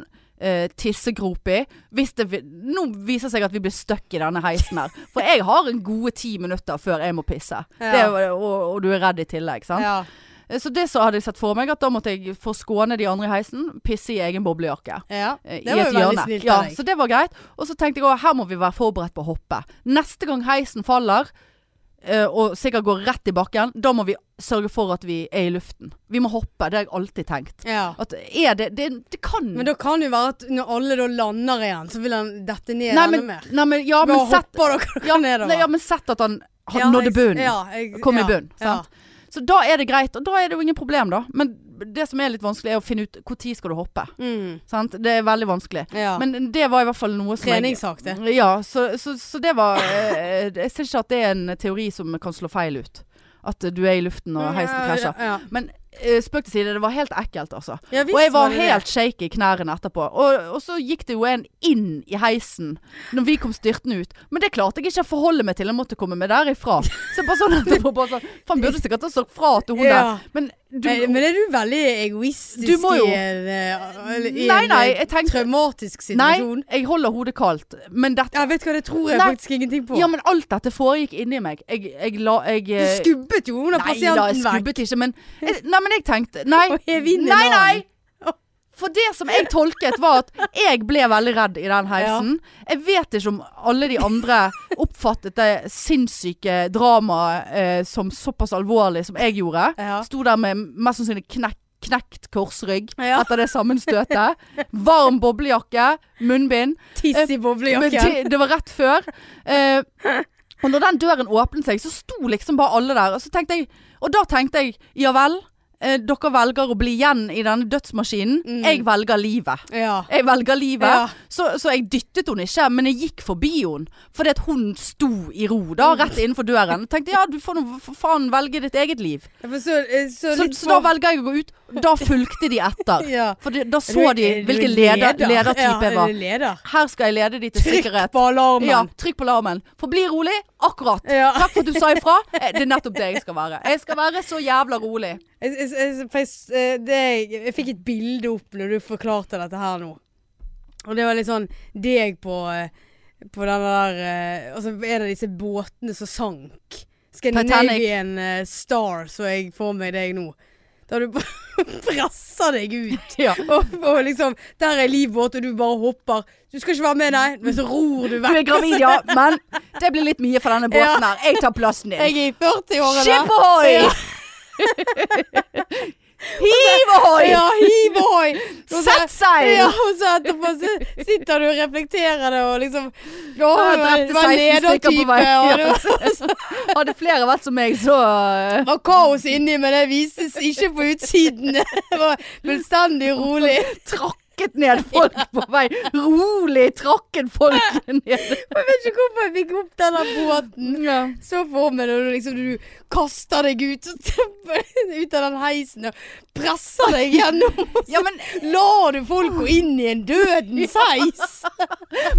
[SPEAKER 1] eh, tissegrop i. Hvis det vi- nå viser det seg at vi blir stuck i denne heisen her. For jeg har en gode ti minutter før jeg må pisse.
[SPEAKER 2] Ja.
[SPEAKER 1] Det, er jo- og, og du er redd i tillegg, sant?
[SPEAKER 2] ja.
[SPEAKER 1] Eh, Så det så hadde jeg sett for meg, at da måtte jeg forskåne de andre i heisen, pisse i egen boblejakke.
[SPEAKER 2] Ja,
[SPEAKER 1] eh,
[SPEAKER 2] det
[SPEAKER 1] i
[SPEAKER 2] var
[SPEAKER 1] et
[SPEAKER 2] jo veldig
[SPEAKER 1] hjørne.
[SPEAKER 2] snilt
[SPEAKER 1] ja,
[SPEAKER 2] av deg.
[SPEAKER 1] Så det var greit. Og så tenkte jeg òg her må vi være forberedt på å hoppe. Neste gang heisen faller, eh, og sikkert går rett i bakken, da må vi sørge for at vi er i luften. Vi må hoppe, det har jeg alltid tenkt.
[SPEAKER 2] Ja.
[SPEAKER 1] At er det, det, det kan
[SPEAKER 2] Men da kan det jo være at når alle da lander igjen, så vil han dette ned
[SPEAKER 1] Nei,
[SPEAKER 2] enda
[SPEAKER 1] men,
[SPEAKER 2] mer.
[SPEAKER 1] nei, men, ja,
[SPEAKER 2] Da
[SPEAKER 1] men sett,
[SPEAKER 2] hopper dere
[SPEAKER 1] ja,
[SPEAKER 2] nedover.
[SPEAKER 1] nei, ja, men sett at han han
[SPEAKER 2] Ja,
[SPEAKER 1] nådde
[SPEAKER 2] jeg-
[SPEAKER 1] bunnen.
[SPEAKER 2] ja, jeg-
[SPEAKER 1] Kom i
[SPEAKER 2] ja,
[SPEAKER 1] bunn,
[SPEAKER 2] ja.
[SPEAKER 1] sant? Så da er det greit, og da er det jo ingen problem, da. Men det som er litt vanskelig, er å finne ut når skal du hoppe.
[SPEAKER 2] Mm,
[SPEAKER 1] Sant? Det er veldig vanskelig.
[SPEAKER 2] ja.
[SPEAKER 1] Men det var i hvert fall noe som
[SPEAKER 2] Treningssak, det.
[SPEAKER 1] jeg Ja, så, så, så det var eh, Jeg syns ikke at det er en teori som kan slå feil ut. At eh, du er i luften og heisen krasjer.
[SPEAKER 2] Ja,
[SPEAKER 1] Men eh, spøk til side, det var helt ekkelt, altså.
[SPEAKER 2] ja. ja visst
[SPEAKER 1] Og jeg var
[SPEAKER 2] det det.
[SPEAKER 1] helt shaky i knærne etterpå. Og, og så gikk det jo en inn i heisen når vi kom styrtende ut. Men det klarte jeg ikke å forholde meg til. Jeg måtte komme meg derifra. Så jeg bare sånn etterpå bare sånn Faen, burde sikkert ha sagt fra til hun
[SPEAKER 2] Ja.
[SPEAKER 1] der. Men du
[SPEAKER 2] Eh, Men er du veldig egoistisk
[SPEAKER 1] Du må jo-
[SPEAKER 2] i en, eh, i
[SPEAKER 1] Nei,
[SPEAKER 2] en
[SPEAKER 1] nei,
[SPEAKER 2] eh,
[SPEAKER 1] jeg tenkte-
[SPEAKER 2] traumatisk
[SPEAKER 1] Nei,
[SPEAKER 2] situasjon?
[SPEAKER 1] jeg holder hodet kaldt. Men dette
[SPEAKER 2] Ja, vet du hva, det tror jeg
[SPEAKER 1] Nei.
[SPEAKER 2] faktisk ingenting på.
[SPEAKER 1] Ja, men alt dette foregikk inni meg. Jeg, jeg la jeg,
[SPEAKER 2] du
[SPEAKER 1] eh,
[SPEAKER 2] skubbet jo hun av
[SPEAKER 1] Nei da, jeg
[SPEAKER 2] pasienten vekk.
[SPEAKER 1] skubbet ikke, men jeg, Nei, men jeg tenkte Nei,
[SPEAKER 2] Og hev inn i
[SPEAKER 1] nei,
[SPEAKER 2] naren.
[SPEAKER 1] nei! For det som jeg tolket, var at jeg ble veldig redd i den heisen. Jeg vet ikke om alle de andre oppfattet det sinnssyke dramaet eh, som såpass alvorlig som jeg gjorde.
[SPEAKER 2] Ja.
[SPEAKER 1] Sto der med mest sannsynlig knekk, knekt korsrygg
[SPEAKER 2] Ja.
[SPEAKER 1] etter det sammenstøtet. Varm boblejakke, munnbind.
[SPEAKER 2] Tiss i
[SPEAKER 1] Eh, Men
[SPEAKER 2] boblejakken.
[SPEAKER 1] det, det var rett før. Eh, og når den døren åpnet seg, så sto liksom bare alle der. Og, så tenkte jeg, og da tenkte jeg ja vel, eh, dere velger å bli igjen i denne dødsmaskinen.
[SPEAKER 2] Mm.
[SPEAKER 1] Jeg velger livet.
[SPEAKER 2] Ja.
[SPEAKER 1] Jeg velger livet.
[SPEAKER 2] Ja.
[SPEAKER 1] Så, så jeg dyttet henne ikke, men jeg gikk forbi henne. Fordi at hun sto i ro, da,
[SPEAKER 2] Mm.
[SPEAKER 1] rett innenfor døren. Tenkte ja, du får nå for faen velge ditt eget liv.
[SPEAKER 2] Jeg får Så, eh, så,
[SPEAKER 1] Så,
[SPEAKER 2] litt
[SPEAKER 1] så da
[SPEAKER 2] for-
[SPEAKER 1] velger jeg å gå ut. Da fulgte de etter.
[SPEAKER 2] ja.
[SPEAKER 1] For det, da
[SPEAKER 2] Er du-
[SPEAKER 1] så de
[SPEAKER 2] er du
[SPEAKER 1] hvilken leder, ledertype
[SPEAKER 2] ja,
[SPEAKER 1] jeg var.
[SPEAKER 2] er du leder?
[SPEAKER 1] Her skal jeg lede de til
[SPEAKER 2] Trykk
[SPEAKER 1] sikkerhet.
[SPEAKER 2] på alarmen.
[SPEAKER 1] Ja, trykk på alarmen. For bli rolig. Akkurat.
[SPEAKER 2] Ja.
[SPEAKER 1] Takk for at du sa ifra. Eh, Det er nettopp det jeg skal være. Jeg skal være så jævla rolig.
[SPEAKER 2] Jeg, jeg, jeg, for jeg, s- eh, det, jeg, jeg fikk et bilde opp når du forklarte dette her nå. Og det var litt sånn deg på, eh, på den der eh, Altså en av disse båtene som sank. Scandinavian eh, Star, så jeg får meg deg nå. Da du bare presser deg ut.
[SPEAKER 1] Ja.
[SPEAKER 2] Og, og liksom Der er livbåt, og du bare hopper. Du skal ikke være med, nei, men så ror du
[SPEAKER 1] Du
[SPEAKER 2] vekk.
[SPEAKER 1] er gravid, ja, men det blir litt mye for denne båten her. Jeg tar plassen din.
[SPEAKER 2] Jeg er i 40-årene.
[SPEAKER 1] Skip ohoi!
[SPEAKER 2] Ja.
[SPEAKER 1] Hiv ohoi!
[SPEAKER 2] Ja, hiv ohoi! Og så-
[SPEAKER 1] Sett seil!
[SPEAKER 2] Ja, og så etterpå så sitter du og reflekterer det, og liksom Ja,
[SPEAKER 1] Jeg
[SPEAKER 2] det
[SPEAKER 1] drepte
[SPEAKER 2] var
[SPEAKER 1] 16 stykker på
[SPEAKER 2] ledertype,
[SPEAKER 1] vei.
[SPEAKER 2] og det
[SPEAKER 1] Ja.
[SPEAKER 2] var, så-
[SPEAKER 1] Hadde flere vært som meg, så eh,
[SPEAKER 2] det var kaos inni, men det vises ikke på utsiden. Det var fullstendig rolig.
[SPEAKER 1] trakket ned folk på vei. Rolig trakket folk ned.
[SPEAKER 2] Jeg vet ikke hvorfor jeg fikk opp denne båten. Så for meg når du liksom du kaster deg ut, ut av den heisen og presser deg gjennom. og
[SPEAKER 1] Ja,
[SPEAKER 2] så
[SPEAKER 1] men,
[SPEAKER 2] Lar du folk gå inn i en dødens heis?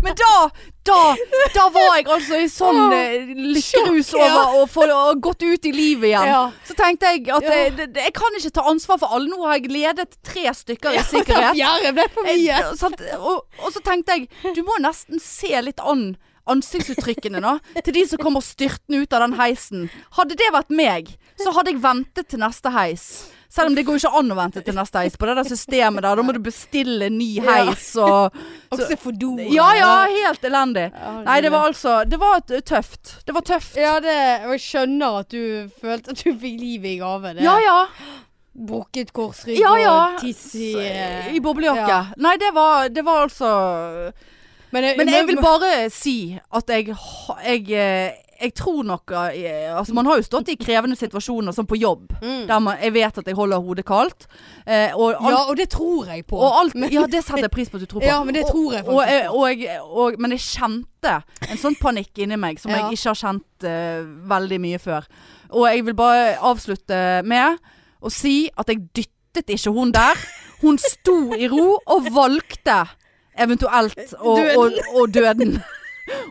[SPEAKER 1] men da, da, da var jeg altså i sånn eh, lykkerus
[SPEAKER 2] Sjokk, ja.
[SPEAKER 1] over å få å gått ut i livet igjen.
[SPEAKER 2] Ja.
[SPEAKER 1] Så tenkte jeg at
[SPEAKER 2] Ja.
[SPEAKER 1] eh, det, det, jeg kan ikke ta ansvar for alle. Nå har jeg ledet tre stykker i
[SPEAKER 2] Den
[SPEAKER 1] sikkerhet.
[SPEAKER 2] fjerde ble for mye.
[SPEAKER 1] Eh, sant? og, og så tenkte jeg du må nesten se litt an ansiktsuttrykkene nå til de som kommer styrtende ut av den heisen. Hadde det vært meg, så hadde jeg ventet til neste heis. Selv om det går jo ikke an å vente til neste heis på det der systemet der. Da må du bestille ny heis og
[SPEAKER 2] Også for do.
[SPEAKER 1] Ja ja, helt elendig. Nei, det var altså Det var t- tøft. Det var tøft.
[SPEAKER 2] Ja, det, og jeg skjønner at du følte at du fikk livet i gave. Det.
[SPEAKER 1] Ja ja.
[SPEAKER 2] Brukket korsrygg
[SPEAKER 1] Ja ja.
[SPEAKER 2] og tiss i eh,
[SPEAKER 1] I boblejakke.
[SPEAKER 2] ja.
[SPEAKER 1] Nei, det var, det var altså
[SPEAKER 2] Men,
[SPEAKER 1] Men jeg vil bare si at jeg ha- jeg, eh, jeg tror nok eh, Altså man har jo stått i krevende situasjoner som på jobb.
[SPEAKER 2] Mm.
[SPEAKER 1] Der man, jeg vet at jeg holder hodet kaldt. eh, Og
[SPEAKER 2] Ja,
[SPEAKER 1] alt,
[SPEAKER 2] og det tror jeg på.
[SPEAKER 1] og alt
[SPEAKER 2] Men-
[SPEAKER 1] Ja, det setter jeg pris på at du tror på.
[SPEAKER 2] Ja, men det tror jeg
[SPEAKER 1] og, og,
[SPEAKER 2] faktisk.
[SPEAKER 1] jeg- og, jeg- og, Men jeg kjente en sånn panikk inni meg som
[SPEAKER 2] Ja.
[SPEAKER 1] jeg ikke har kjent eh, veldig mye før. Og jeg vil bare avslutte med å si at jeg dyttet ikke hun der. Hun sto i ro og valgte eventuelt og,
[SPEAKER 2] Døden.
[SPEAKER 1] Og, og døden.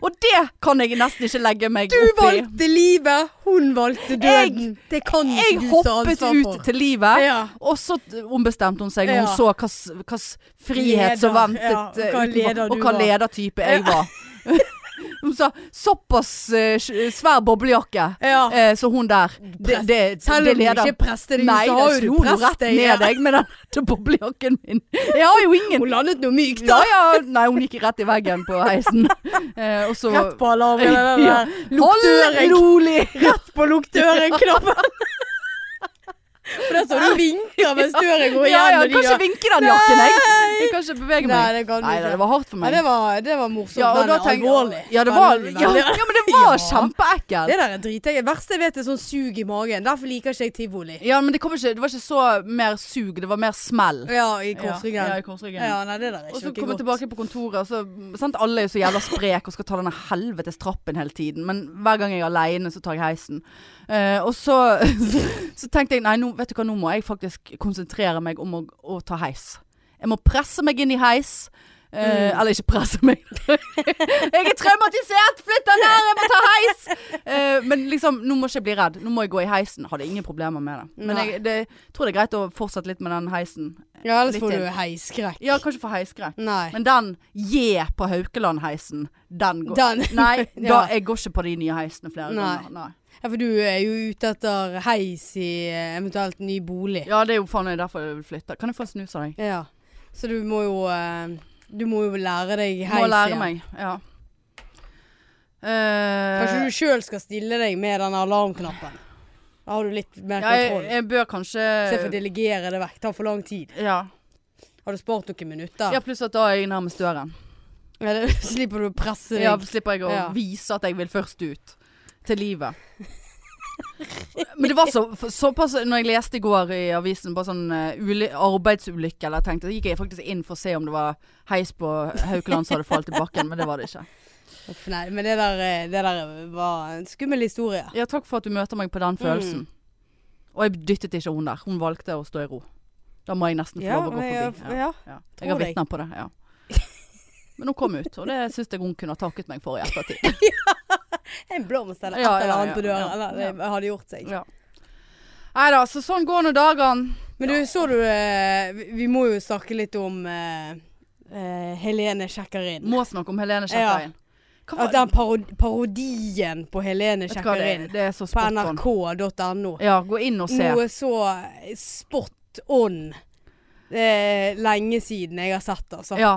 [SPEAKER 1] Og det kan jeg nesten ikke legge meg
[SPEAKER 2] Du
[SPEAKER 1] opp i.
[SPEAKER 2] valgte livet, hun valgte døden. det kan ikke
[SPEAKER 1] Jeg
[SPEAKER 2] du ta
[SPEAKER 1] hoppet
[SPEAKER 2] ansvar
[SPEAKER 1] ut
[SPEAKER 2] for.
[SPEAKER 1] til livet.
[SPEAKER 2] Ja.
[SPEAKER 1] Og så t- ombestemte hun seg når hun
[SPEAKER 2] Ja.
[SPEAKER 1] så hvilken frihet som
[SPEAKER 2] Leder,
[SPEAKER 1] ventet
[SPEAKER 2] ja, og hva
[SPEAKER 1] eh, utenfor,
[SPEAKER 2] leder du
[SPEAKER 1] og hva
[SPEAKER 2] var.
[SPEAKER 1] ledertype jeg var. Hun sa såpass eh, sj- svær boblejakke,
[SPEAKER 2] Ja.
[SPEAKER 1] eh, så hun der det, det,
[SPEAKER 2] Selv
[SPEAKER 1] det
[SPEAKER 2] om du
[SPEAKER 1] leder-
[SPEAKER 2] ikke er prest i det
[SPEAKER 1] Nei,
[SPEAKER 2] huset,
[SPEAKER 1] det
[SPEAKER 2] har jo
[SPEAKER 1] slo
[SPEAKER 2] du
[SPEAKER 1] jo rett
[SPEAKER 2] prest deg.
[SPEAKER 1] ned
[SPEAKER 2] Ja.
[SPEAKER 1] deg med den til boblejakken min. Jeg har jo ingen
[SPEAKER 2] Hun landet noe mykt,
[SPEAKER 1] ja,
[SPEAKER 2] da.
[SPEAKER 1] ja. Nei, hun gikk rett i veggen på heisen. Eh, og så
[SPEAKER 2] Rett på alarmen. den der.
[SPEAKER 1] Ja.
[SPEAKER 2] Luktøring.
[SPEAKER 1] rolig!
[SPEAKER 2] Rett på luktøren-knappen. For der står du og vinker mens døren går
[SPEAKER 1] Ja,
[SPEAKER 2] igjen.
[SPEAKER 1] ja,
[SPEAKER 2] og de
[SPEAKER 1] kan ikke
[SPEAKER 2] da-
[SPEAKER 1] vinke den jakken, jeg.
[SPEAKER 2] Nei.
[SPEAKER 1] Jeg kan ikke bevege
[SPEAKER 2] Nei,
[SPEAKER 1] meg.
[SPEAKER 2] det kan du
[SPEAKER 1] Nei,
[SPEAKER 2] ikke.
[SPEAKER 1] det var hardt for
[SPEAKER 2] Ja,
[SPEAKER 1] meg.
[SPEAKER 2] det var, det var morsomt.
[SPEAKER 1] Ja, og
[SPEAKER 2] men
[SPEAKER 1] da tenker
[SPEAKER 2] alvorlig.
[SPEAKER 1] Ja, det var,
[SPEAKER 2] Veldig,
[SPEAKER 1] ja,
[SPEAKER 2] veldig.
[SPEAKER 1] ja, men det var
[SPEAKER 2] Ja.
[SPEAKER 1] kjempeekkelt.
[SPEAKER 2] Det der er dritekkelt. Det verste jeg vet, er sånn sug i magen. Derfor liker ikke jeg tivoli.
[SPEAKER 1] Ja, men det, kom ikke, det var ikke så mer sug, det var mer smell.
[SPEAKER 2] Ja, i korsryggen.
[SPEAKER 1] Ja,
[SPEAKER 2] Ja,
[SPEAKER 1] i korsryggen.
[SPEAKER 2] nei, det der er
[SPEAKER 1] Og så
[SPEAKER 2] ikke
[SPEAKER 1] kommer jeg
[SPEAKER 2] godt.
[SPEAKER 1] tilbake på kontoret, og så sant, Alle er jo så jævla sprek og skal ta denne helvetes trappen hele tiden. Men hver gang jeg er aleine, så tar jeg heisen. Eh, og så, så tenkte jeg nei, nå, vet du hva, nå må jeg faktisk konsentrere meg om å, å ta heis. Jeg må presse meg inn i heis.
[SPEAKER 2] Mm.
[SPEAKER 1] Eh, Eller ikke presse meg. jeg er traumatisert! Flytt deg nær, jeg må ta heis! Eh, men liksom, nå må ikke jeg bli redd. Nå må jeg gå i heisen. Hadde ingen problemer med det. Men
[SPEAKER 2] Nei.
[SPEAKER 1] jeg det, tror det er greit å fortsette litt med den heisen.
[SPEAKER 2] Ja, ellers
[SPEAKER 1] Litt
[SPEAKER 2] får du
[SPEAKER 1] til.
[SPEAKER 2] heiskrekk.
[SPEAKER 1] Ja, kanskje få heisskrekk.
[SPEAKER 2] Nei.
[SPEAKER 1] Men den J på Haukeland-heisen, den går
[SPEAKER 2] Den.
[SPEAKER 1] Nei,
[SPEAKER 2] Ja.
[SPEAKER 1] da, jeg går ikke på de nye heisene flere
[SPEAKER 2] Nei.
[SPEAKER 1] ganger. Nei.
[SPEAKER 2] Ja, for du er jo ute etter heis i eh, eventuelt ny bolig.
[SPEAKER 1] Ja, det er jo faen meg derfor jeg vil flytte. Kan jeg få en snus av deg?
[SPEAKER 2] Ja. Så du må jo eh, Du må jo lære deg heis
[SPEAKER 1] Må lære
[SPEAKER 2] igjen.
[SPEAKER 1] meg. Ja. Eh,
[SPEAKER 2] Kanskje du sjøl skal stille deg med den alarmknappen. Da har du litt mer
[SPEAKER 1] ja, jeg,
[SPEAKER 2] kontroll.
[SPEAKER 1] jeg bør kanskje
[SPEAKER 2] Se for å delegere det vekk. Tar for lang tid.
[SPEAKER 1] ja.
[SPEAKER 2] Har du spart noen minutter?
[SPEAKER 1] ja, pluss at da er jeg nærmest døren.
[SPEAKER 2] Ja, det, slipper du å presse deg.
[SPEAKER 1] Ja, slipper jeg å
[SPEAKER 2] Ja.
[SPEAKER 1] vise at jeg vil først ut til livet. Men det var så, for- såpass Når jeg leste i går i avisen på sånn eh, uli- arbeidsulykke, eller tenkte, så gikk jeg faktisk inn for å se om det var heis på Haukeland som hadde falt i bakken, men det var det ikke.
[SPEAKER 2] Uff, Nei, men det der, eh, det der var en skummel historie.
[SPEAKER 1] Ja, takk for at du møter meg på den følelsen. Og jeg dyttet ikke hun der. Hun valgte å stå i ro. Da må jeg nesten få lov å gå forbi. Ja.
[SPEAKER 2] ja.
[SPEAKER 1] Ja.
[SPEAKER 2] Tror
[SPEAKER 1] Jeg har
[SPEAKER 2] deg.
[SPEAKER 1] vitner på det. Ja. Men hun kom ut, og det syns jeg hun kunne ha takket meg for i ettertid.
[SPEAKER 2] En blomst eller et
[SPEAKER 1] Ja,
[SPEAKER 2] eller
[SPEAKER 1] ja,
[SPEAKER 2] annet på
[SPEAKER 1] ja,
[SPEAKER 2] døren.
[SPEAKER 1] ja.
[SPEAKER 2] Eller det hadde gjort seg.
[SPEAKER 1] Ja. Nei da, så sånn går nå dagene.
[SPEAKER 2] Men du, så du eh, vi- Vi må jo snakke litt om eh, eh, Helene sjekker inn.
[SPEAKER 1] Må snakke om Helene
[SPEAKER 2] Ja.
[SPEAKER 1] Kjekkerein. Hva
[SPEAKER 2] At den parod parodien på Helene
[SPEAKER 1] vet du hva
[SPEAKER 2] sjekker
[SPEAKER 1] det,
[SPEAKER 2] inn
[SPEAKER 1] er? det er så
[SPEAKER 2] på
[SPEAKER 1] spot on.
[SPEAKER 2] nrk.no
[SPEAKER 1] Ja, gå inn og se.
[SPEAKER 2] Noe så spot on. Det er lenge siden jeg har sett, altså.
[SPEAKER 1] Ja.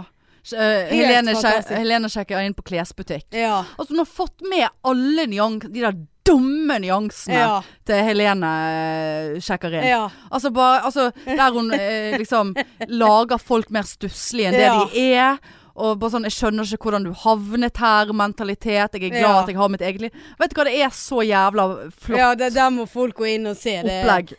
[SPEAKER 1] Sj- eh, Helene,
[SPEAKER 2] fantastisk.
[SPEAKER 1] Kje- Helene Kjekkerein på klesbutikk.
[SPEAKER 2] Ja.
[SPEAKER 1] Altså, hun har fått med alle nyan- de der dumme nyansene
[SPEAKER 2] Ja.
[SPEAKER 1] til Helene eh, Kjekkerein.
[SPEAKER 2] ja.
[SPEAKER 1] Altså, bare, altså, der hun eh, liksom lager folk mer stusslige enn det
[SPEAKER 2] Ja.
[SPEAKER 1] de er. Og bare sånn, Jeg skjønner ikke hvordan du havnet her, mentalitet. Jeg er glad
[SPEAKER 2] Ja.
[SPEAKER 1] at jeg har mitt eget liv. Vet du hva, det er så jævla flott
[SPEAKER 2] ja det, der må folk gå inn og se. Det,
[SPEAKER 1] opplegg.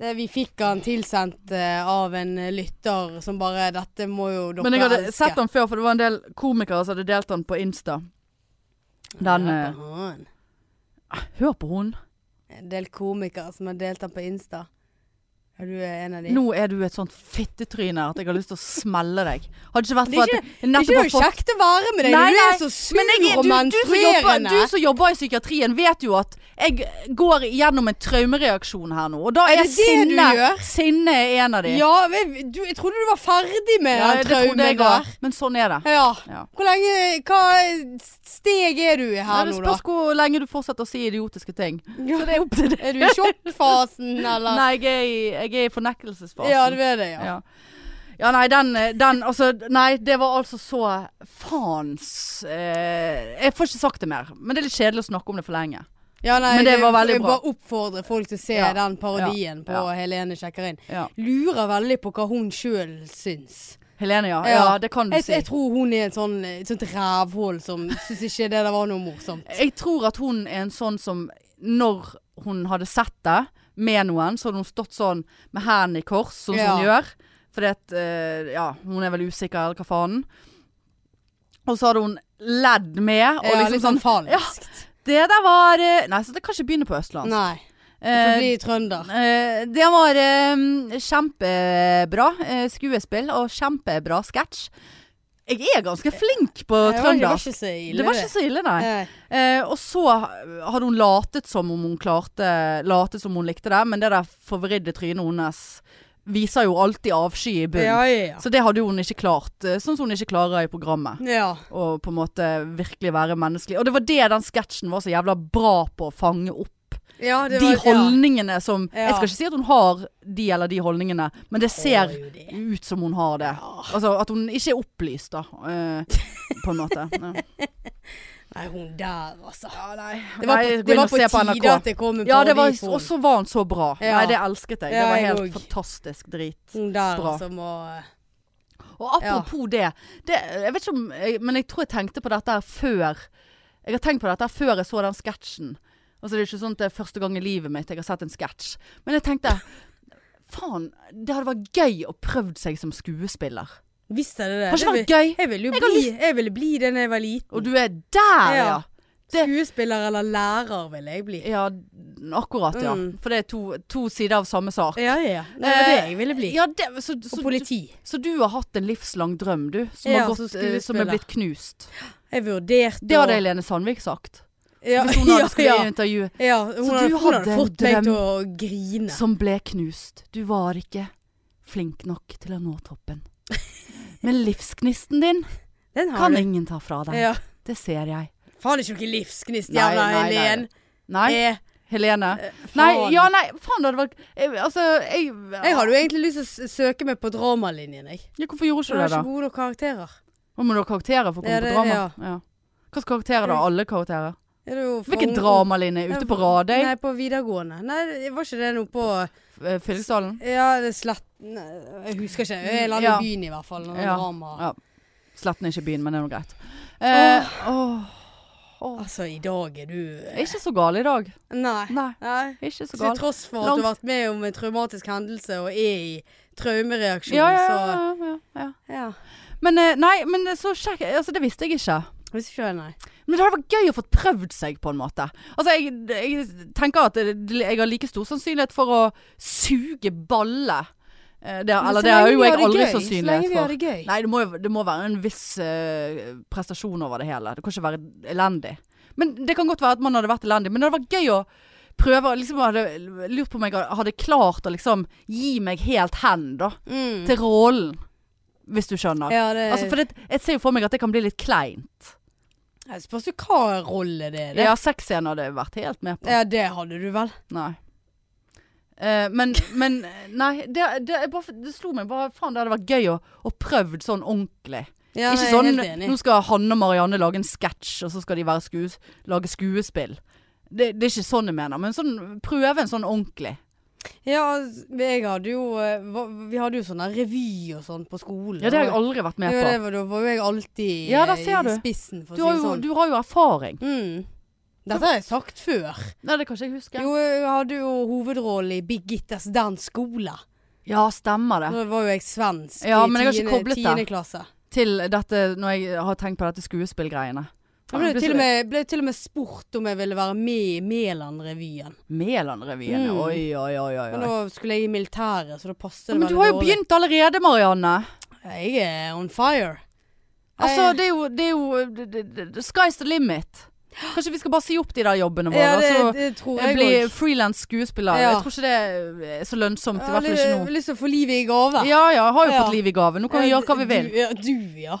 [SPEAKER 2] det, vi fikk han tilsendt eh, av en lytter som bare Dette må jo dere
[SPEAKER 1] Men jeg hadde
[SPEAKER 2] elske.
[SPEAKER 1] sett den før, for det var en del komikere som hadde delt den på Insta. Den eh,
[SPEAKER 2] han.
[SPEAKER 1] Hør på hun.
[SPEAKER 2] En del komikere som har delt den på Insta. Ja, du er en av de.
[SPEAKER 1] Nå er du et sånt fittetryne at jeg har lyst til å smelle deg. Hadde ikke vært
[SPEAKER 2] Det er
[SPEAKER 1] for at
[SPEAKER 2] ikke-
[SPEAKER 1] jeg
[SPEAKER 2] det er
[SPEAKER 1] nettopp
[SPEAKER 2] ikke
[SPEAKER 1] har
[SPEAKER 2] noe
[SPEAKER 1] fått
[SPEAKER 2] kjekt å være med deg.
[SPEAKER 1] Nei,
[SPEAKER 2] du
[SPEAKER 1] nei,
[SPEAKER 2] er så sur
[SPEAKER 1] Men jeg,
[SPEAKER 2] og
[SPEAKER 1] du, du, som jobber,
[SPEAKER 2] menstruerende.
[SPEAKER 1] du som jobber i psykiatrien vet jo at jeg går gjennom en traumereaksjon her nå. Og da
[SPEAKER 2] Er
[SPEAKER 1] er,
[SPEAKER 2] det det du
[SPEAKER 1] sinne
[SPEAKER 2] gjør?
[SPEAKER 1] Sinne er en av de.
[SPEAKER 2] Ja, men du, jeg trodde du var ferdig med
[SPEAKER 1] Ja,
[SPEAKER 2] den
[SPEAKER 1] det trodde
[SPEAKER 2] traumen
[SPEAKER 1] jeg òg.
[SPEAKER 2] der.
[SPEAKER 1] Men sånn er det.
[SPEAKER 2] Ja.
[SPEAKER 1] Ja.
[SPEAKER 2] Hvor lenge Hva steg er du i
[SPEAKER 1] Nei,
[SPEAKER 2] her
[SPEAKER 1] det
[SPEAKER 2] nå, da?
[SPEAKER 1] spørs hvor lenge du fortsetter å si idiotiske ting.
[SPEAKER 2] Så det er opp til deg. Er du i sjokkfasen, eller?
[SPEAKER 1] Nei, jeg er i, jeg er i fornekkelsesfasen.
[SPEAKER 2] Ja, det er det, ja.
[SPEAKER 1] Ja. Ja, nei, den, den Altså, nei, det var altså så faens eh, Jeg får ikke sagt det mer. Men det er litt kjedelig å snakke om det for lenge.
[SPEAKER 2] Ja, nei,
[SPEAKER 1] Men det var veldig
[SPEAKER 2] Jeg bare oppfordrer folk til å se
[SPEAKER 1] Ja.
[SPEAKER 2] den parodien på
[SPEAKER 1] Ja.
[SPEAKER 2] Helene sjekker inn.
[SPEAKER 1] Ja.
[SPEAKER 2] Lurer veldig på hva hun sjøl syns.
[SPEAKER 1] Helene, ja.
[SPEAKER 2] Ja.
[SPEAKER 1] Ja, det kan du
[SPEAKER 2] Jeg,
[SPEAKER 1] si.
[SPEAKER 2] jeg tror hun er en sånn, et sånt rævhull som syns ikke det der var noe morsomt.
[SPEAKER 1] Jeg tror at hun er en sånn som Når hun hadde sett det med noen, så hadde hun stått sånn med hendene i kors, sånn
[SPEAKER 2] Ja.
[SPEAKER 1] som hun gjør. Fordi at eh, Ja, hun er vel usikker, eller hva faen. Og så hadde hun ledd med, og
[SPEAKER 2] Ja,
[SPEAKER 1] liksom,
[SPEAKER 2] litt
[SPEAKER 1] sånn
[SPEAKER 2] sånn falskt.
[SPEAKER 1] Det der var eh, Nei, så det kan ikke begynne på østlandsk.
[SPEAKER 2] Nei.
[SPEAKER 1] Eh,
[SPEAKER 2] Bli trønder.
[SPEAKER 1] Eh, det var eh, kjempebra eh, skuespill og kjempebra sketsj. Jeg er ganske flink på
[SPEAKER 2] Det var, det var
[SPEAKER 1] trøndersk.
[SPEAKER 2] ikke så ille,
[SPEAKER 1] Det var ikke så ille, nei.
[SPEAKER 2] Nei.
[SPEAKER 1] Eh, og så hadde hun latet som om hun klarte Latet som hun likte det, men det der forvridde trynet hennes viser jo alltid avsky i bunnen.
[SPEAKER 2] Ja, ja,
[SPEAKER 1] Så det hadde jo hun ikke klart, eh, sånn som hun ikke klarer i programmet.
[SPEAKER 2] ja. ja.
[SPEAKER 1] Å på en måte virkelig være menneskelig. Og det var det den sketsjen var så jævla bra på å fange opp.
[SPEAKER 2] ja det
[SPEAKER 1] De
[SPEAKER 2] var-
[SPEAKER 1] holdningene som
[SPEAKER 2] Ja.
[SPEAKER 1] Jeg skal ikke si at hun har de eller de holdningene, men det ser
[SPEAKER 2] Har jo det.
[SPEAKER 1] ut som hun har det. Altså at hun ikke er opplyst, da. eh, på en måte. Ja.
[SPEAKER 2] Nei, hun der, altså.
[SPEAKER 1] Nei,
[SPEAKER 2] Det var,
[SPEAKER 1] gå
[SPEAKER 2] på-
[SPEAKER 1] inn
[SPEAKER 2] det var
[SPEAKER 1] og
[SPEAKER 2] på
[SPEAKER 1] se
[SPEAKER 2] tide at det kom en
[SPEAKER 1] Ja, det var,
[SPEAKER 2] parodi på
[SPEAKER 1] og
[SPEAKER 2] henne.
[SPEAKER 1] så var han så bra.
[SPEAKER 2] Ja.
[SPEAKER 1] Nei, det elsket jeg.
[SPEAKER 2] Ja,
[SPEAKER 1] det var
[SPEAKER 2] jeg
[SPEAKER 1] helt
[SPEAKER 2] òg.
[SPEAKER 1] fantastisk drit.
[SPEAKER 2] Hun der,
[SPEAKER 1] Bra.
[SPEAKER 2] altså, må
[SPEAKER 1] Og apropos det, det Jeg vet ikke om jeg, Men jeg tror jeg tenkte på dette her før Jeg har tenkt på dette her før jeg så den sketsjen. Altså det er ikke sånn at det er første gang i livet mitt jeg har sett en sketsj. Men jeg tenkte Faen, det hadde vært gøy å prøvd seg som skuespiller.
[SPEAKER 2] Visst er det det.
[SPEAKER 1] Har ikke vært
[SPEAKER 2] Det vil-
[SPEAKER 1] gøy.
[SPEAKER 2] Jeg ville jo
[SPEAKER 1] Jeg har
[SPEAKER 2] bli, jeg ville bli det da jeg var liten.
[SPEAKER 1] Og du er der, ja!
[SPEAKER 2] Ja.
[SPEAKER 1] det-
[SPEAKER 2] Skuespiller eller lærer ville jeg bli.
[SPEAKER 1] Ja, akkurat, ja.
[SPEAKER 2] Mm.
[SPEAKER 1] For det er to, to sider av samme sak.
[SPEAKER 2] Ja, ja. ja. Det var det
[SPEAKER 1] Eh,
[SPEAKER 2] jeg ville bli.
[SPEAKER 1] Ja, det, så, så,
[SPEAKER 2] Og
[SPEAKER 1] du-
[SPEAKER 2] politi.
[SPEAKER 1] Så du har hatt en livslang drøm, du, som,
[SPEAKER 2] Ja,
[SPEAKER 1] har gått,
[SPEAKER 2] som
[SPEAKER 1] eh, som er
[SPEAKER 2] skuespiller.
[SPEAKER 1] blitt knust.
[SPEAKER 2] Jeg vurderte
[SPEAKER 1] Det
[SPEAKER 2] å-
[SPEAKER 1] hadde Helene Sandvik sagt.
[SPEAKER 2] ja,
[SPEAKER 1] Hvis hun
[SPEAKER 2] ja,
[SPEAKER 1] hadde skulle
[SPEAKER 2] ja.
[SPEAKER 1] i intervju.
[SPEAKER 2] ja, hun,
[SPEAKER 1] Så
[SPEAKER 2] hadde,
[SPEAKER 1] du
[SPEAKER 2] hun hadde
[SPEAKER 1] hadde en
[SPEAKER 2] fått meg
[SPEAKER 1] drøm.
[SPEAKER 2] til å grine.
[SPEAKER 1] Som ble knust. Du var ikke flink nok til å nå toppen. Men livsgnisten din
[SPEAKER 2] Den har
[SPEAKER 1] kan
[SPEAKER 2] du.
[SPEAKER 1] ingen ta fra deg.
[SPEAKER 2] Ja.
[SPEAKER 1] Det ser jeg.
[SPEAKER 2] Faen, ikke noe livsgnist,
[SPEAKER 1] Nei,
[SPEAKER 2] jævla
[SPEAKER 1] nei, nei.
[SPEAKER 2] Helen.
[SPEAKER 1] Nei,
[SPEAKER 2] Eh,
[SPEAKER 1] Helene.
[SPEAKER 2] faen.
[SPEAKER 1] Nei, ja, nei, faen det hadde vært jeg, Altså, jeg,
[SPEAKER 2] Jeg hadde jo egentlig lyst til å s- søke meg på dramalinjen, jeg.
[SPEAKER 1] ja, Hvorfor gjorde ikke
[SPEAKER 2] Jeg
[SPEAKER 1] du
[SPEAKER 2] har
[SPEAKER 1] det,
[SPEAKER 2] ikke
[SPEAKER 1] da?
[SPEAKER 2] gode nok karakterer.
[SPEAKER 1] Hva må du ha karakterer for å komme
[SPEAKER 2] Ja, det-
[SPEAKER 1] på drama? Ja. Hvilke karakterer, da? Alle karakterer?
[SPEAKER 2] Er det jo for
[SPEAKER 1] Hvilken
[SPEAKER 2] ung-
[SPEAKER 1] dramalinje? Ute på Radøy?
[SPEAKER 2] Nei, på videregående. Nei, var ikke det noe på
[SPEAKER 1] Eh, Fyllingsdalen?
[SPEAKER 2] Ja, det er slett Nei, Jeg husker ikke. Jeg la ja.
[SPEAKER 1] Ja.
[SPEAKER 2] i byen i hvert fall. Noen
[SPEAKER 1] Ja.
[SPEAKER 2] drama.
[SPEAKER 1] Ja. Sletten er ikke i byen, men det er nå greit. Eh, åh.
[SPEAKER 2] Altså, i dag er du
[SPEAKER 1] Jeg er ikke så gal i dag.
[SPEAKER 2] Nei.
[SPEAKER 1] Nei,
[SPEAKER 2] Nei.
[SPEAKER 1] jeg er ikke så
[SPEAKER 2] Til
[SPEAKER 1] gal.
[SPEAKER 2] tross for at du har vært med om en traumatisk hendelse og er i traumereaksjon,
[SPEAKER 1] Ja, ja, ja, ja, ja.
[SPEAKER 2] så Ja.
[SPEAKER 1] Men eh, nei, men det er så kjekk Altså, det visste jeg ikke.
[SPEAKER 2] Hvis ikke jeg, nei.
[SPEAKER 1] Men det hadde vært gøy å få prøvd seg, på en måte. Altså, jeg, jeg tenker at det- jeg har like stor sannsynlighet for å suge balle. Eh, Det, eller
[SPEAKER 2] Men så
[SPEAKER 1] det er
[SPEAKER 2] lenge
[SPEAKER 1] jo
[SPEAKER 2] vi
[SPEAKER 1] jeg
[SPEAKER 2] har det
[SPEAKER 1] aldri
[SPEAKER 2] gøy, Så
[SPEAKER 1] sannsynlighet
[SPEAKER 2] lenge vi har
[SPEAKER 1] for.
[SPEAKER 2] det gøy.
[SPEAKER 1] Nei, det må, jo- det må være en viss eh, prestasjon over det hele. Det kan ikke være elendig. Men det kan godt være at man hadde vært elendig, men det hadde vært gøy å prøve. Liksom, jeg hadde lurt på om jeg hadde klart å liksom gi meg helt hen, da.
[SPEAKER 2] Mm. Eh,
[SPEAKER 1] Til rollen. Hvis du skjønner.
[SPEAKER 2] Ja, det
[SPEAKER 1] Altså, for det, jeg ser jo for meg at det kan bli litt kleint.
[SPEAKER 2] Jeg spørs jo hva rolle det er. Det.
[SPEAKER 1] Ja, sexscenen hadde jeg vært helt med på.
[SPEAKER 2] Ja, det hadde du vel.
[SPEAKER 1] Nei. Eh, men, men Nei, det, det, er bare, det slo meg bare Faen, det hadde vært gøy å, å prøvd sånn ordentlig. ikke
[SPEAKER 2] Ja, nei, jeg er helt
[SPEAKER 1] sånn
[SPEAKER 2] enig.
[SPEAKER 1] Nå skal Hanne og Marianne lage en sketsj, og så skal de være skues, lage skuespill. Det, det er ikke sånn jeg mener, men sånn, prøve en sånn ordentlig.
[SPEAKER 2] Ja, altså, jeg hadde jo eh, hva- Vi hadde jo sånne revy og sånn på skolen.
[SPEAKER 1] Ja, det har jeg aldri vært med
[SPEAKER 2] Jo, det
[SPEAKER 1] på.
[SPEAKER 2] var, da var jo jeg alltid
[SPEAKER 1] Ja, der
[SPEAKER 2] eh,
[SPEAKER 1] ser
[SPEAKER 2] i
[SPEAKER 1] du.
[SPEAKER 2] spissen, for
[SPEAKER 1] Du
[SPEAKER 2] å
[SPEAKER 1] har
[SPEAKER 2] si det
[SPEAKER 1] jo,
[SPEAKER 2] sånn.
[SPEAKER 1] du har jo erfaring.
[SPEAKER 2] Mm. Dette har jeg sagt før.
[SPEAKER 1] Nei, det kan ikke jeg huske.
[SPEAKER 2] Jo, jeg hadde jo hovedrollen i Birgittes dans skole.
[SPEAKER 1] Ja, stemmer det.
[SPEAKER 2] Da var jo jeg svensk
[SPEAKER 1] Ja,
[SPEAKER 2] i
[SPEAKER 1] men jeg har ikke
[SPEAKER 2] tiende-
[SPEAKER 1] koblet det.
[SPEAKER 2] tiende klasse.
[SPEAKER 1] Til dette, når jeg har tenkt på dette skuespillgreiene.
[SPEAKER 2] Jeg ble til, og med, ble til og med spurt om jeg ville være med i Mæland-revyen.
[SPEAKER 1] Mæland-revyen.
[SPEAKER 2] Mm.
[SPEAKER 1] Oi, oi, oi, oi.
[SPEAKER 2] Men
[SPEAKER 1] oi.
[SPEAKER 2] da skulle jeg i militæret, så da passet
[SPEAKER 1] Ja,
[SPEAKER 2] det
[SPEAKER 1] Men du har jo
[SPEAKER 2] dårlig.
[SPEAKER 1] begynt allerede, Marianne.
[SPEAKER 2] Jeg er on fire.
[SPEAKER 1] Altså,
[SPEAKER 2] Jeg-
[SPEAKER 1] det er jo, det er jo det- det- det- Sky's the limit. Kanskje vi skal bare si opp de der jobbene våre,
[SPEAKER 2] ja, det,
[SPEAKER 1] og
[SPEAKER 2] det tror
[SPEAKER 1] så
[SPEAKER 2] jeg
[SPEAKER 1] bli
[SPEAKER 2] også.
[SPEAKER 1] frilans skuespiller.
[SPEAKER 2] Ja.
[SPEAKER 1] Jeg tror ikke det er så lønnsomt, i hvert fall
[SPEAKER 2] Jeg
[SPEAKER 1] ikke
[SPEAKER 2] har
[SPEAKER 1] nå.
[SPEAKER 2] lyst til å få livet i gave.
[SPEAKER 1] Ja ja, jeg har jo
[SPEAKER 2] Ja.
[SPEAKER 1] fått liv i gave. Nå kan vi
[SPEAKER 2] Ja,
[SPEAKER 1] gjøre hva vi vil.
[SPEAKER 2] Du, ja, du, ja.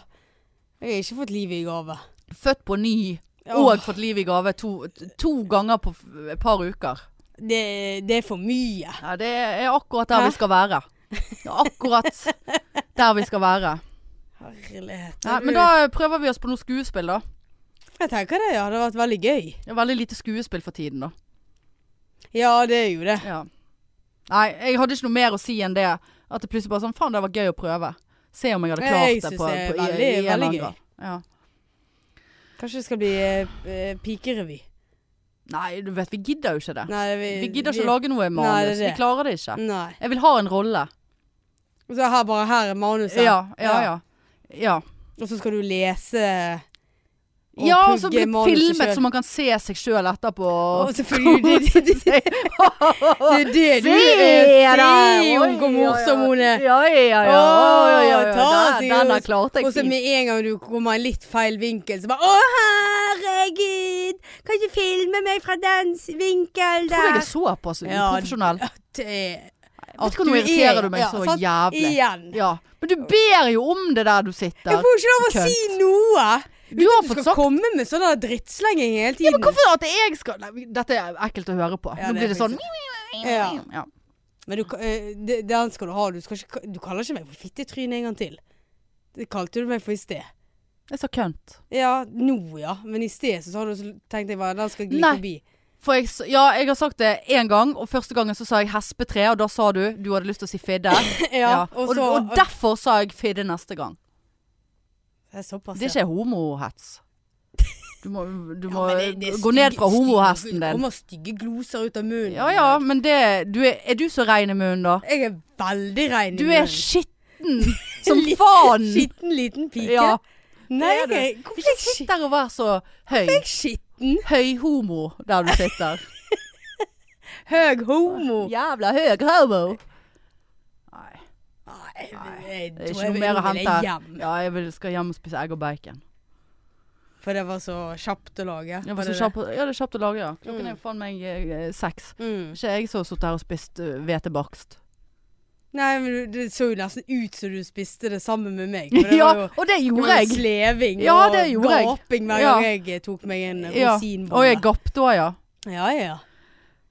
[SPEAKER 2] Jeg har ikke fått livet i gave.
[SPEAKER 1] Født på ny
[SPEAKER 2] Åh,
[SPEAKER 1] og fått liv i gave to, to ganger på f- et par uker.
[SPEAKER 2] det, det er for mye.
[SPEAKER 1] Ja, det er akkurat der
[SPEAKER 2] Hæ?
[SPEAKER 1] vi skal være. Det er Akkurat der vi skal være.
[SPEAKER 2] Herlighet.
[SPEAKER 1] Ja,
[SPEAKER 2] Du-
[SPEAKER 1] men da prøver vi oss på noe skuespill, da.
[SPEAKER 2] Jeg tenker det ja, hadde vært veldig gøy.
[SPEAKER 1] Det er veldig lite skuespill for tiden, da.
[SPEAKER 2] Ja, det er jo det.
[SPEAKER 1] Ja. Nei, jeg hadde ikke noe mer å si enn det. At det plutselig bare sånn Faen, det var gøy å prøve. Se om jeg hadde
[SPEAKER 2] Nei,
[SPEAKER 1] klart
[SPEAKER 2] jeg
[SPEAKER 1] det.
[SPEAKER 2] synes
[SPEAKER 1] På,
[SPEAKER 2] det er
[SPEAKER 1] på, i-
[SPEAKER 2] veldig-
[SPEAKER 1] i en eller annen
[SPEAKER 2] veldig gøy.
[SPEAKER 1] grad. Ja.
[SPEAKER 2] Kanskje det skal bli eh, pikerevy.
[SPEAKER 1] Nei, du vet, vi gidder jo ikke det.
[SPEAKER 2] Nei, vi,
[SPEAKER 1] Vi gidder ikke
[SPEAKER 2] vi-
[SPEAKER 1] å lage noe manus.
[SPEAKER 2] Nei, det er det. Mm.
[SPEAKER 1] Vi klarer det ikke.
[SPEAKER 2] Nei.
[SPEAKER 1] Jeg vil ha en rolle.
[SPEAKER 2] Så her bare her er manuset.
[SPEAKER 1] Ja, ja, ja. Ja,
[SPEAKER 2] Og så skal du lese og
[SPEAKER 1] ja og så
[SPEAKER 2] pugge
[SPEAKER 1] bli
[SPEAKER 2] manuset
[SPEAKER 1] filmet
[SPEAKER 2] selv.
[SPEAKER 1] så man kan se seg sjøl etterpå.
[SPEAKER 2] Å, selvfølgelig. Det, det, det, det er det du er. Se hun hvor morsom hun er.
[SPEAKER 1] Ja, ja, ja. ja.
[SPEAKER 2] Å,
[SPEAKER 1] Å, ja, ja, ja.
[SPEAKER 2] ta
[SPEAKER 1] Den-
[SPEAKER 2] seg
[SPEAKER 1] Den der
[SPEAKER 2] hos-
[SPEAKER 1] klarte
[SPEAKER 2] Og så
[SPEAKER 1] jeg.
[SPEAKER 2] med en gang du kommer i litt feil vinkel, så bare Å, herregud! Kan ikke filme meg fra den s-
[SPEAKER 1] Tror jeg
[SPEAKER 2] vinkel
[SPEAKER 1] er
[SPEAKER 2] der?
[SPEAKER 1] såpass
[SPEAKER 2] Ja,
[SPEAKER 1] uprofesjonell.
[SPEAKER 2] Det er-
[SPEAKER 1] Vet du hva, nå irriterer du meg så jævlig.
[SPEAKER 2] Igjen.
[SPEAKER 1] Ja. Men du ber jo om det der du sitter.
[SPEAKER 2] Jeg får jo ikke lov å
[SPEAKER 1] Kønt.
[SPEAKER 2] si noe!
[SPEAKER 1] Du har
[SPEAKER 2] Du
[SPEAKER 1] fått
[SPEAKER 2] skal
[SPEAKER 1] sagt
[SPEAKER 2] komme med sånn drittslenging hele tiden.
[SPEAKER 1] ja, men Hvorfor at jeg skal Nei, Dette er ekkelt å høre på.
[SPEAKER 2] Ja,
[SPEAKER 1] nå
[SPEAKER 2] det er
[SPEAKER 1] blir det sånn
[SPEAKER 2] Ja.
[SPEAKER 1] ja.
[SPEAKER 2] Men du, eh, det- den skal du ha. Du, skal ikke, du kaller ikke meg for fittetryne en gang til. Det kalte du meg for i sted.
[SPEAKER 1] Jeg sa kønt.
[SPEAKER 2] Ja, nå ja. Men i sted så, sa du, så tenkte jeg bare den skal gli
[SPEAKER 1] Nei.
[SPEAKER 2] forbi.
[SPEAKER 1] For jeg, s- ja, jeg har sagt det én gang, og første gangen så sa jeg hespetre, og da sa du du hadde lyst til å si fidde.
[SPEAKER 2] Ja,
[SPEAKER 1] Ja.
[SPEAKER 2] Og,
[SPEAKER 1] Og,
[SPEAKER 2] så
[SPEAKER 1] og derfor sa jeg fidde neste gang.
[SPEAKER 2] Det er såpass,
[SPEAKER 1] Det er
[SPEAKER 2] ja.
[SPEAKER 1] ikke homohets. Du må, du
[SPEAKER 2] Altså. Ja,
[SPEAKER 1] må
[SPEAKER 2] men det- det er
[SPEAKER 1] gå ned
[SPEAKER 2] stygge-
[SPEAKER 1] fra
[SPEAKER 2] stygge-
[SPEAKER 1] homohesten
[SPEAKER 2] Det
[SPEAKER 1] din.
[SPEAKER 2] kommer stygge gloser ut av munnen.
[SPEAKER 1] Ja ja, men det du er, er du så rein i munnen, da?
[SPEAKER 2] Jeg er veldig rein i
[SPEAKER 1] Du
[SPEAKER 2] munnen.
[SPEAKER 1] er skitten som faen!
[SPEAKER 2] Skitten liten pike.
[SPEAKER 1] Ja.
[SPEAKER 2] Nei,
[SPEAKER 1] det er du.
[SPEAKER 2] jeg, hvorfor er
[SPEAKER 1] Ikke
[SPEAKER 2] jeg
[SPEAKER 1] sitt
[SPEAKER 2] skitten?
[SPEAKER 1] der og vær så høy.
[SPEAKER 2] Jeg er skitten.
[SPEAKER 1] Høyhomo der du sitter.
[SPEAKER 2] Høg homo.
[SPEAKER 1] Jævla høy homo. Nei,
[SPEAKER 2] Nei,
[SPEAKER 1] det er ikke noe mer å hente. Ja, jeg vil, skal hjem og spise egg og bacon.
[SPEAKER 2] For det var så kjapt å lage.
[SPEAKER 1] Ja,
[SPEAKER 2] var
[SPEAKER 1] for så
[SPEAKER 2] det
[SPEAKER 1] kjapt, ja det er kjapt å lage, ja. Klokken
[SPEAKER 2] Mm.
[SPEAKER 1] er faen meg eh, seks.
[SPEAKER 2] det? Mm.
[SPEAKER 1] Ikke jeg som har sittet her og spist eh, hvetebakst.
[SPEAKER 2] Nei, men du- det så jo nesten ut som du spiste det sammen med meg. For det
[SPEAKER 1] Ja,
[SPEAKER 2] var jo,
[SPEAKER 1] og det
[SPEAKER 2] det
[SPEAKER 1] gjorde
[SPEAKER 2] var jo
[SPEAKER 1] jeg.
[SPEAKER 2] sleving
[SPEAKER 1] Ja,
[SPEAKER 2] og
[SPEAKER 1] det gjorde jeg.
[SPEAKER 2] gaping hver
[SPEAKER 1] Ja.
[SPEAKER 2] gang jeg eh, tok meg en
[SPEAKER 1] Ja. Og
[SPEAKER 2] rosinbolle.
[SPEAKER 1] jeg gapte òg, ja.
[SPEAKER 2] ja, ja, ja.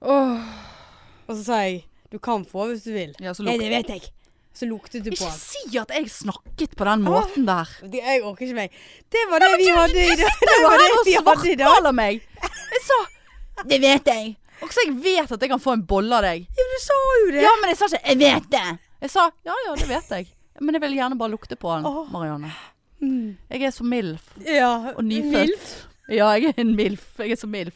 [SPEAKER 2] Og så sa jeg du kan få hvis du vil.
[SPEAKER 1] ja så
[SPEAKER 2] Nei,
[SPEAKER 1] lukter-
[SPEAKER 2] det vet jeg. Så luktet du på
[SPEAKER 1] Ikke
[SPEAKER 2] den.
[SPEAKER 1] si at jeg snakket på den måten der.
[SPEAKER 2] Det- Jeg orker ikke meg. Det var det vi hadde i dag. Det var det vi
[SPEAKER 1] Du
[SPEAKER 2] hadde i dag.
[SPEAKER 1] svartmaler meg. Jeg sa Det vet jeg. Og så jeg vet at jeg kan få en bolle av deg.
[SPEAKER 2] Ja, men du sa jo det.
[SPEAKER 1] Ja, men jeg sa ikke 'jeg vet det'. Jeg sa 'ja ja, det vet jeg'. Men jeg vil gjerne bare lukte på den,
[SPEAKER 2] Åh.
[SPEAKER 1] Marianne.
[SPEAKER 2] Mm.
[SPEAKER 1] Jeg er så milf.
[SPEAKER 2] ja.
[SPEAKER 1] Og nyfødt.
[SPEAKER 2] Milf.
[SPEAKER 1] Ja, jeg er en milf. Jeg er så milf.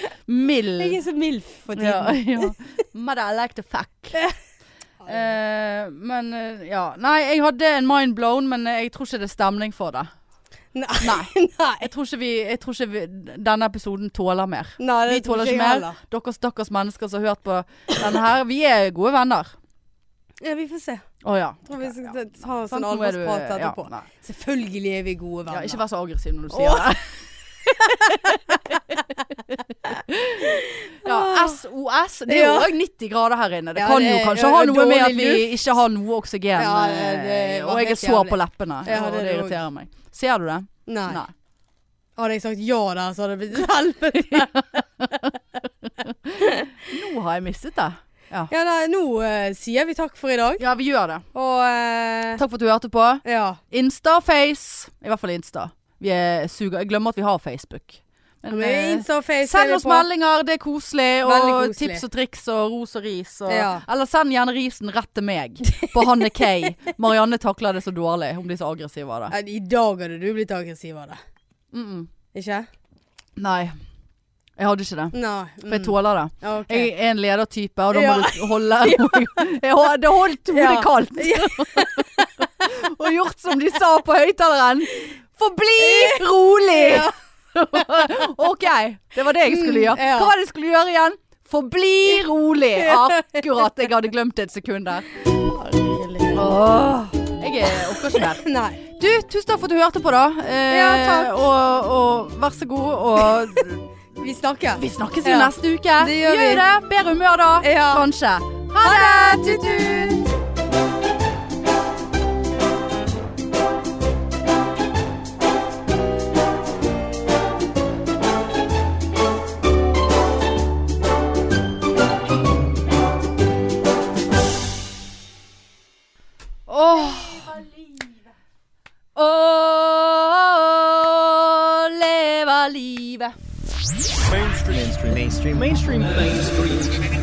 [SPEAKER 2] Jeg
[SPEAKER 1] Mild.
[SPEAKER 2] er så milf for tiden.
[SPEAKER 1] Ja, ja. Mother, I like to fuck. Eh, men eh, ja. Nei, jeg hadde en mind blown, men eh, jeg tror ikke det er stemning for det.
[SPEAKER 2] Nei.
[SPEAKER 1] Nei.
[SPEAKER 2] Nei.
[SPEAKER 1] Jeg tror ikke, vi, jeg tror ikke vi, denne episoden tåler mer.
[SPEAKER 2] Nei, det
[SPEAKER 1] Vi
[SPEAKER 2] tror
[SPEAKER 1] tåler
[SPEAKER 2] ikke
[SPEAKER 1] ikke
[SPEAKER 2] jeg
[SPEAKER 1] mer.
[SPEAKER 2] heller.
[SPEAKER 1] Dere stakkars mennesker som har hørt på denne her. Vi er gode venner.
[SPEAKER 2] Ja, vi får se.
[SPEAKER 1] Å ja.
[SPEAKER 2] Tror vi skal ta- ta en
[SPEAKER 1] Sant,
[SPEAKER 2] sånn
[SPEAKER 1] nå er du-
[SPEAKER 2] alvorsprat
[SPEAKER 1] ja,
[SPEAKER 2] etterpå.
[SPEAKER 1] nei.
[SPEAKER 2] Selvfølgelig er vi gode
[SPEAKER 1] Ja,
[SPEAKER 2] venner.
[SPEAKER 1] ikke vær så aggressiv når du sier det. ja, SOS. Det er jo
[SPEAKER 2] Ja.
[SPEAKER 1] òg 90 grader her inne. Det
[SPEAKER 2] Ja,
[SPEAKER 1] kan
[SPEAKER 2] det
[SPEAKER 1] jo
[SPEAKER 2] er-
[SPEAKER 1] kanskje
[SPEAKER 2] ja,
[SPEAKER 1] ha
[SPEAKER 2] det er
[SPEAKER 1] noe med at
[SPEAKER 2] dårlig
[SPEAKER 1] vi ikke har noe oksygen.
[SPEAKER 2] Ja, det- det
[SPEAKER 1] eh,
[SPEAKER 2] var
[SPEAKER 1] og jeg er
[SPEAKER 2] helt
[SPEAKER 1] sår på
[SPEAKER 2] jævlig.
[SPEAKER 1] leppene.
[SPEAKER 2] Ja,
[SPEAKER 1] og
[SPEAKER 2] det
[SPEAKER 1] det
[SPEAKER 2] er det
[SPEAKER 1] irriterer meg. Ser du det?
[SPEAKER 2] Nei. Hadde jeg sagt ja der, så hadde det blitt helvete.
[SPEAKER 1] Nå har jeg mistet det. Ja,
[SPEAKER 2] Ja, nei, nå eh, sier vi takk for i dag.
[SPEAKER 1] ja vi gjør det.
[SPEAKER 2] Og eh,
[SPEAKER 1] Takk for at du hørte på.
[SPEAKER 2] ja.
[SPEAKER 1] Insta og Face. I hvert fall Insta. Vi er suger. Jeg glemmer at vi har Facebook. Men, eh,
[SPEAKER 2] Insta og Face er
[SPEAKER 1] send
[SPEAKER 2] vi
[SPEAKER 1] oss
[SPEAKER 2] på.
[SPEAKER 1] meldinger, det er koselig. Og
[SPEAKER 2] Veldig koselig.
[SPEAKER 1] tips og triks og ros og ris. Og,
[SPEAKER 2] Ja.
[SPEAKER 1] Eller send gjerne risen rett til meg, på Hanne K. Marianne takler det så dårlig. Hun blir så aggressiv av det.
[SPEAKER 2] Nei, I dag hadde du blitt aggressiv av det.
[SPEAKER 1] Mm -mm.
[SPEAKER 2] Ikke?
[SPEAKER 1] Nei. Jeg hadde ikke det.
[SPEAKER 2] Nei.
[SPEAKER 1] For jeg
[SPEAKER 2] mm,
[SPEAKER 1] tåler det.
[SPEAKER 2] ok.
[SPEAKER 1] Jeg er en ledertype, og da må
[SPEAKER 2] Ja.
[SPEAKER 1] du holde Jeg hadde holdt hodet
[SPEAKER 2] Ja.
[SPEAKER 1] kaldt. og gjort som de sa på høyttaleren. Forbli rolig!
[SPEAKER 2] Ja.
[SPEAKER 1] OK, det var det jeg skulle gjøre.
[SPEAKER 2] Mm, ja.
[SPEAKER 1] Hva var det jeg skulle gjøre igjen? Forbli rolig! Akkurat. Jeg hadde glemt det et sekund der.
[SPEAKER 2] Herregud.
[SPEAKER 1] Åh, jeg er orker ikke mer.
[SPEAKER 2] Nei.
[SPEAKER 1] Du, tusen takk for at du hørte på, da. Eh,
[SPEAKER 2] Ja, takk.
[SPEAKER 1] Og, og vær så god, og
[SPEAKER 2] Vi snakkes.
[SPEAKER 1] Vi snakkes jo
[SPEAKER 2] Ja.
[SPEAKER 1] neste uke.
[SPEAKER 2] Det gjør vi.
[SPEAKER 1] det. Bedre humør da,
[SPEAKER 2] Ja.
[SPEAKER 1] kanskje. Ha det! Tut-tut! Åh. Åh, leva livet.
[SPEAKER 3] mainstream mainstream mainstream mainstream mainstream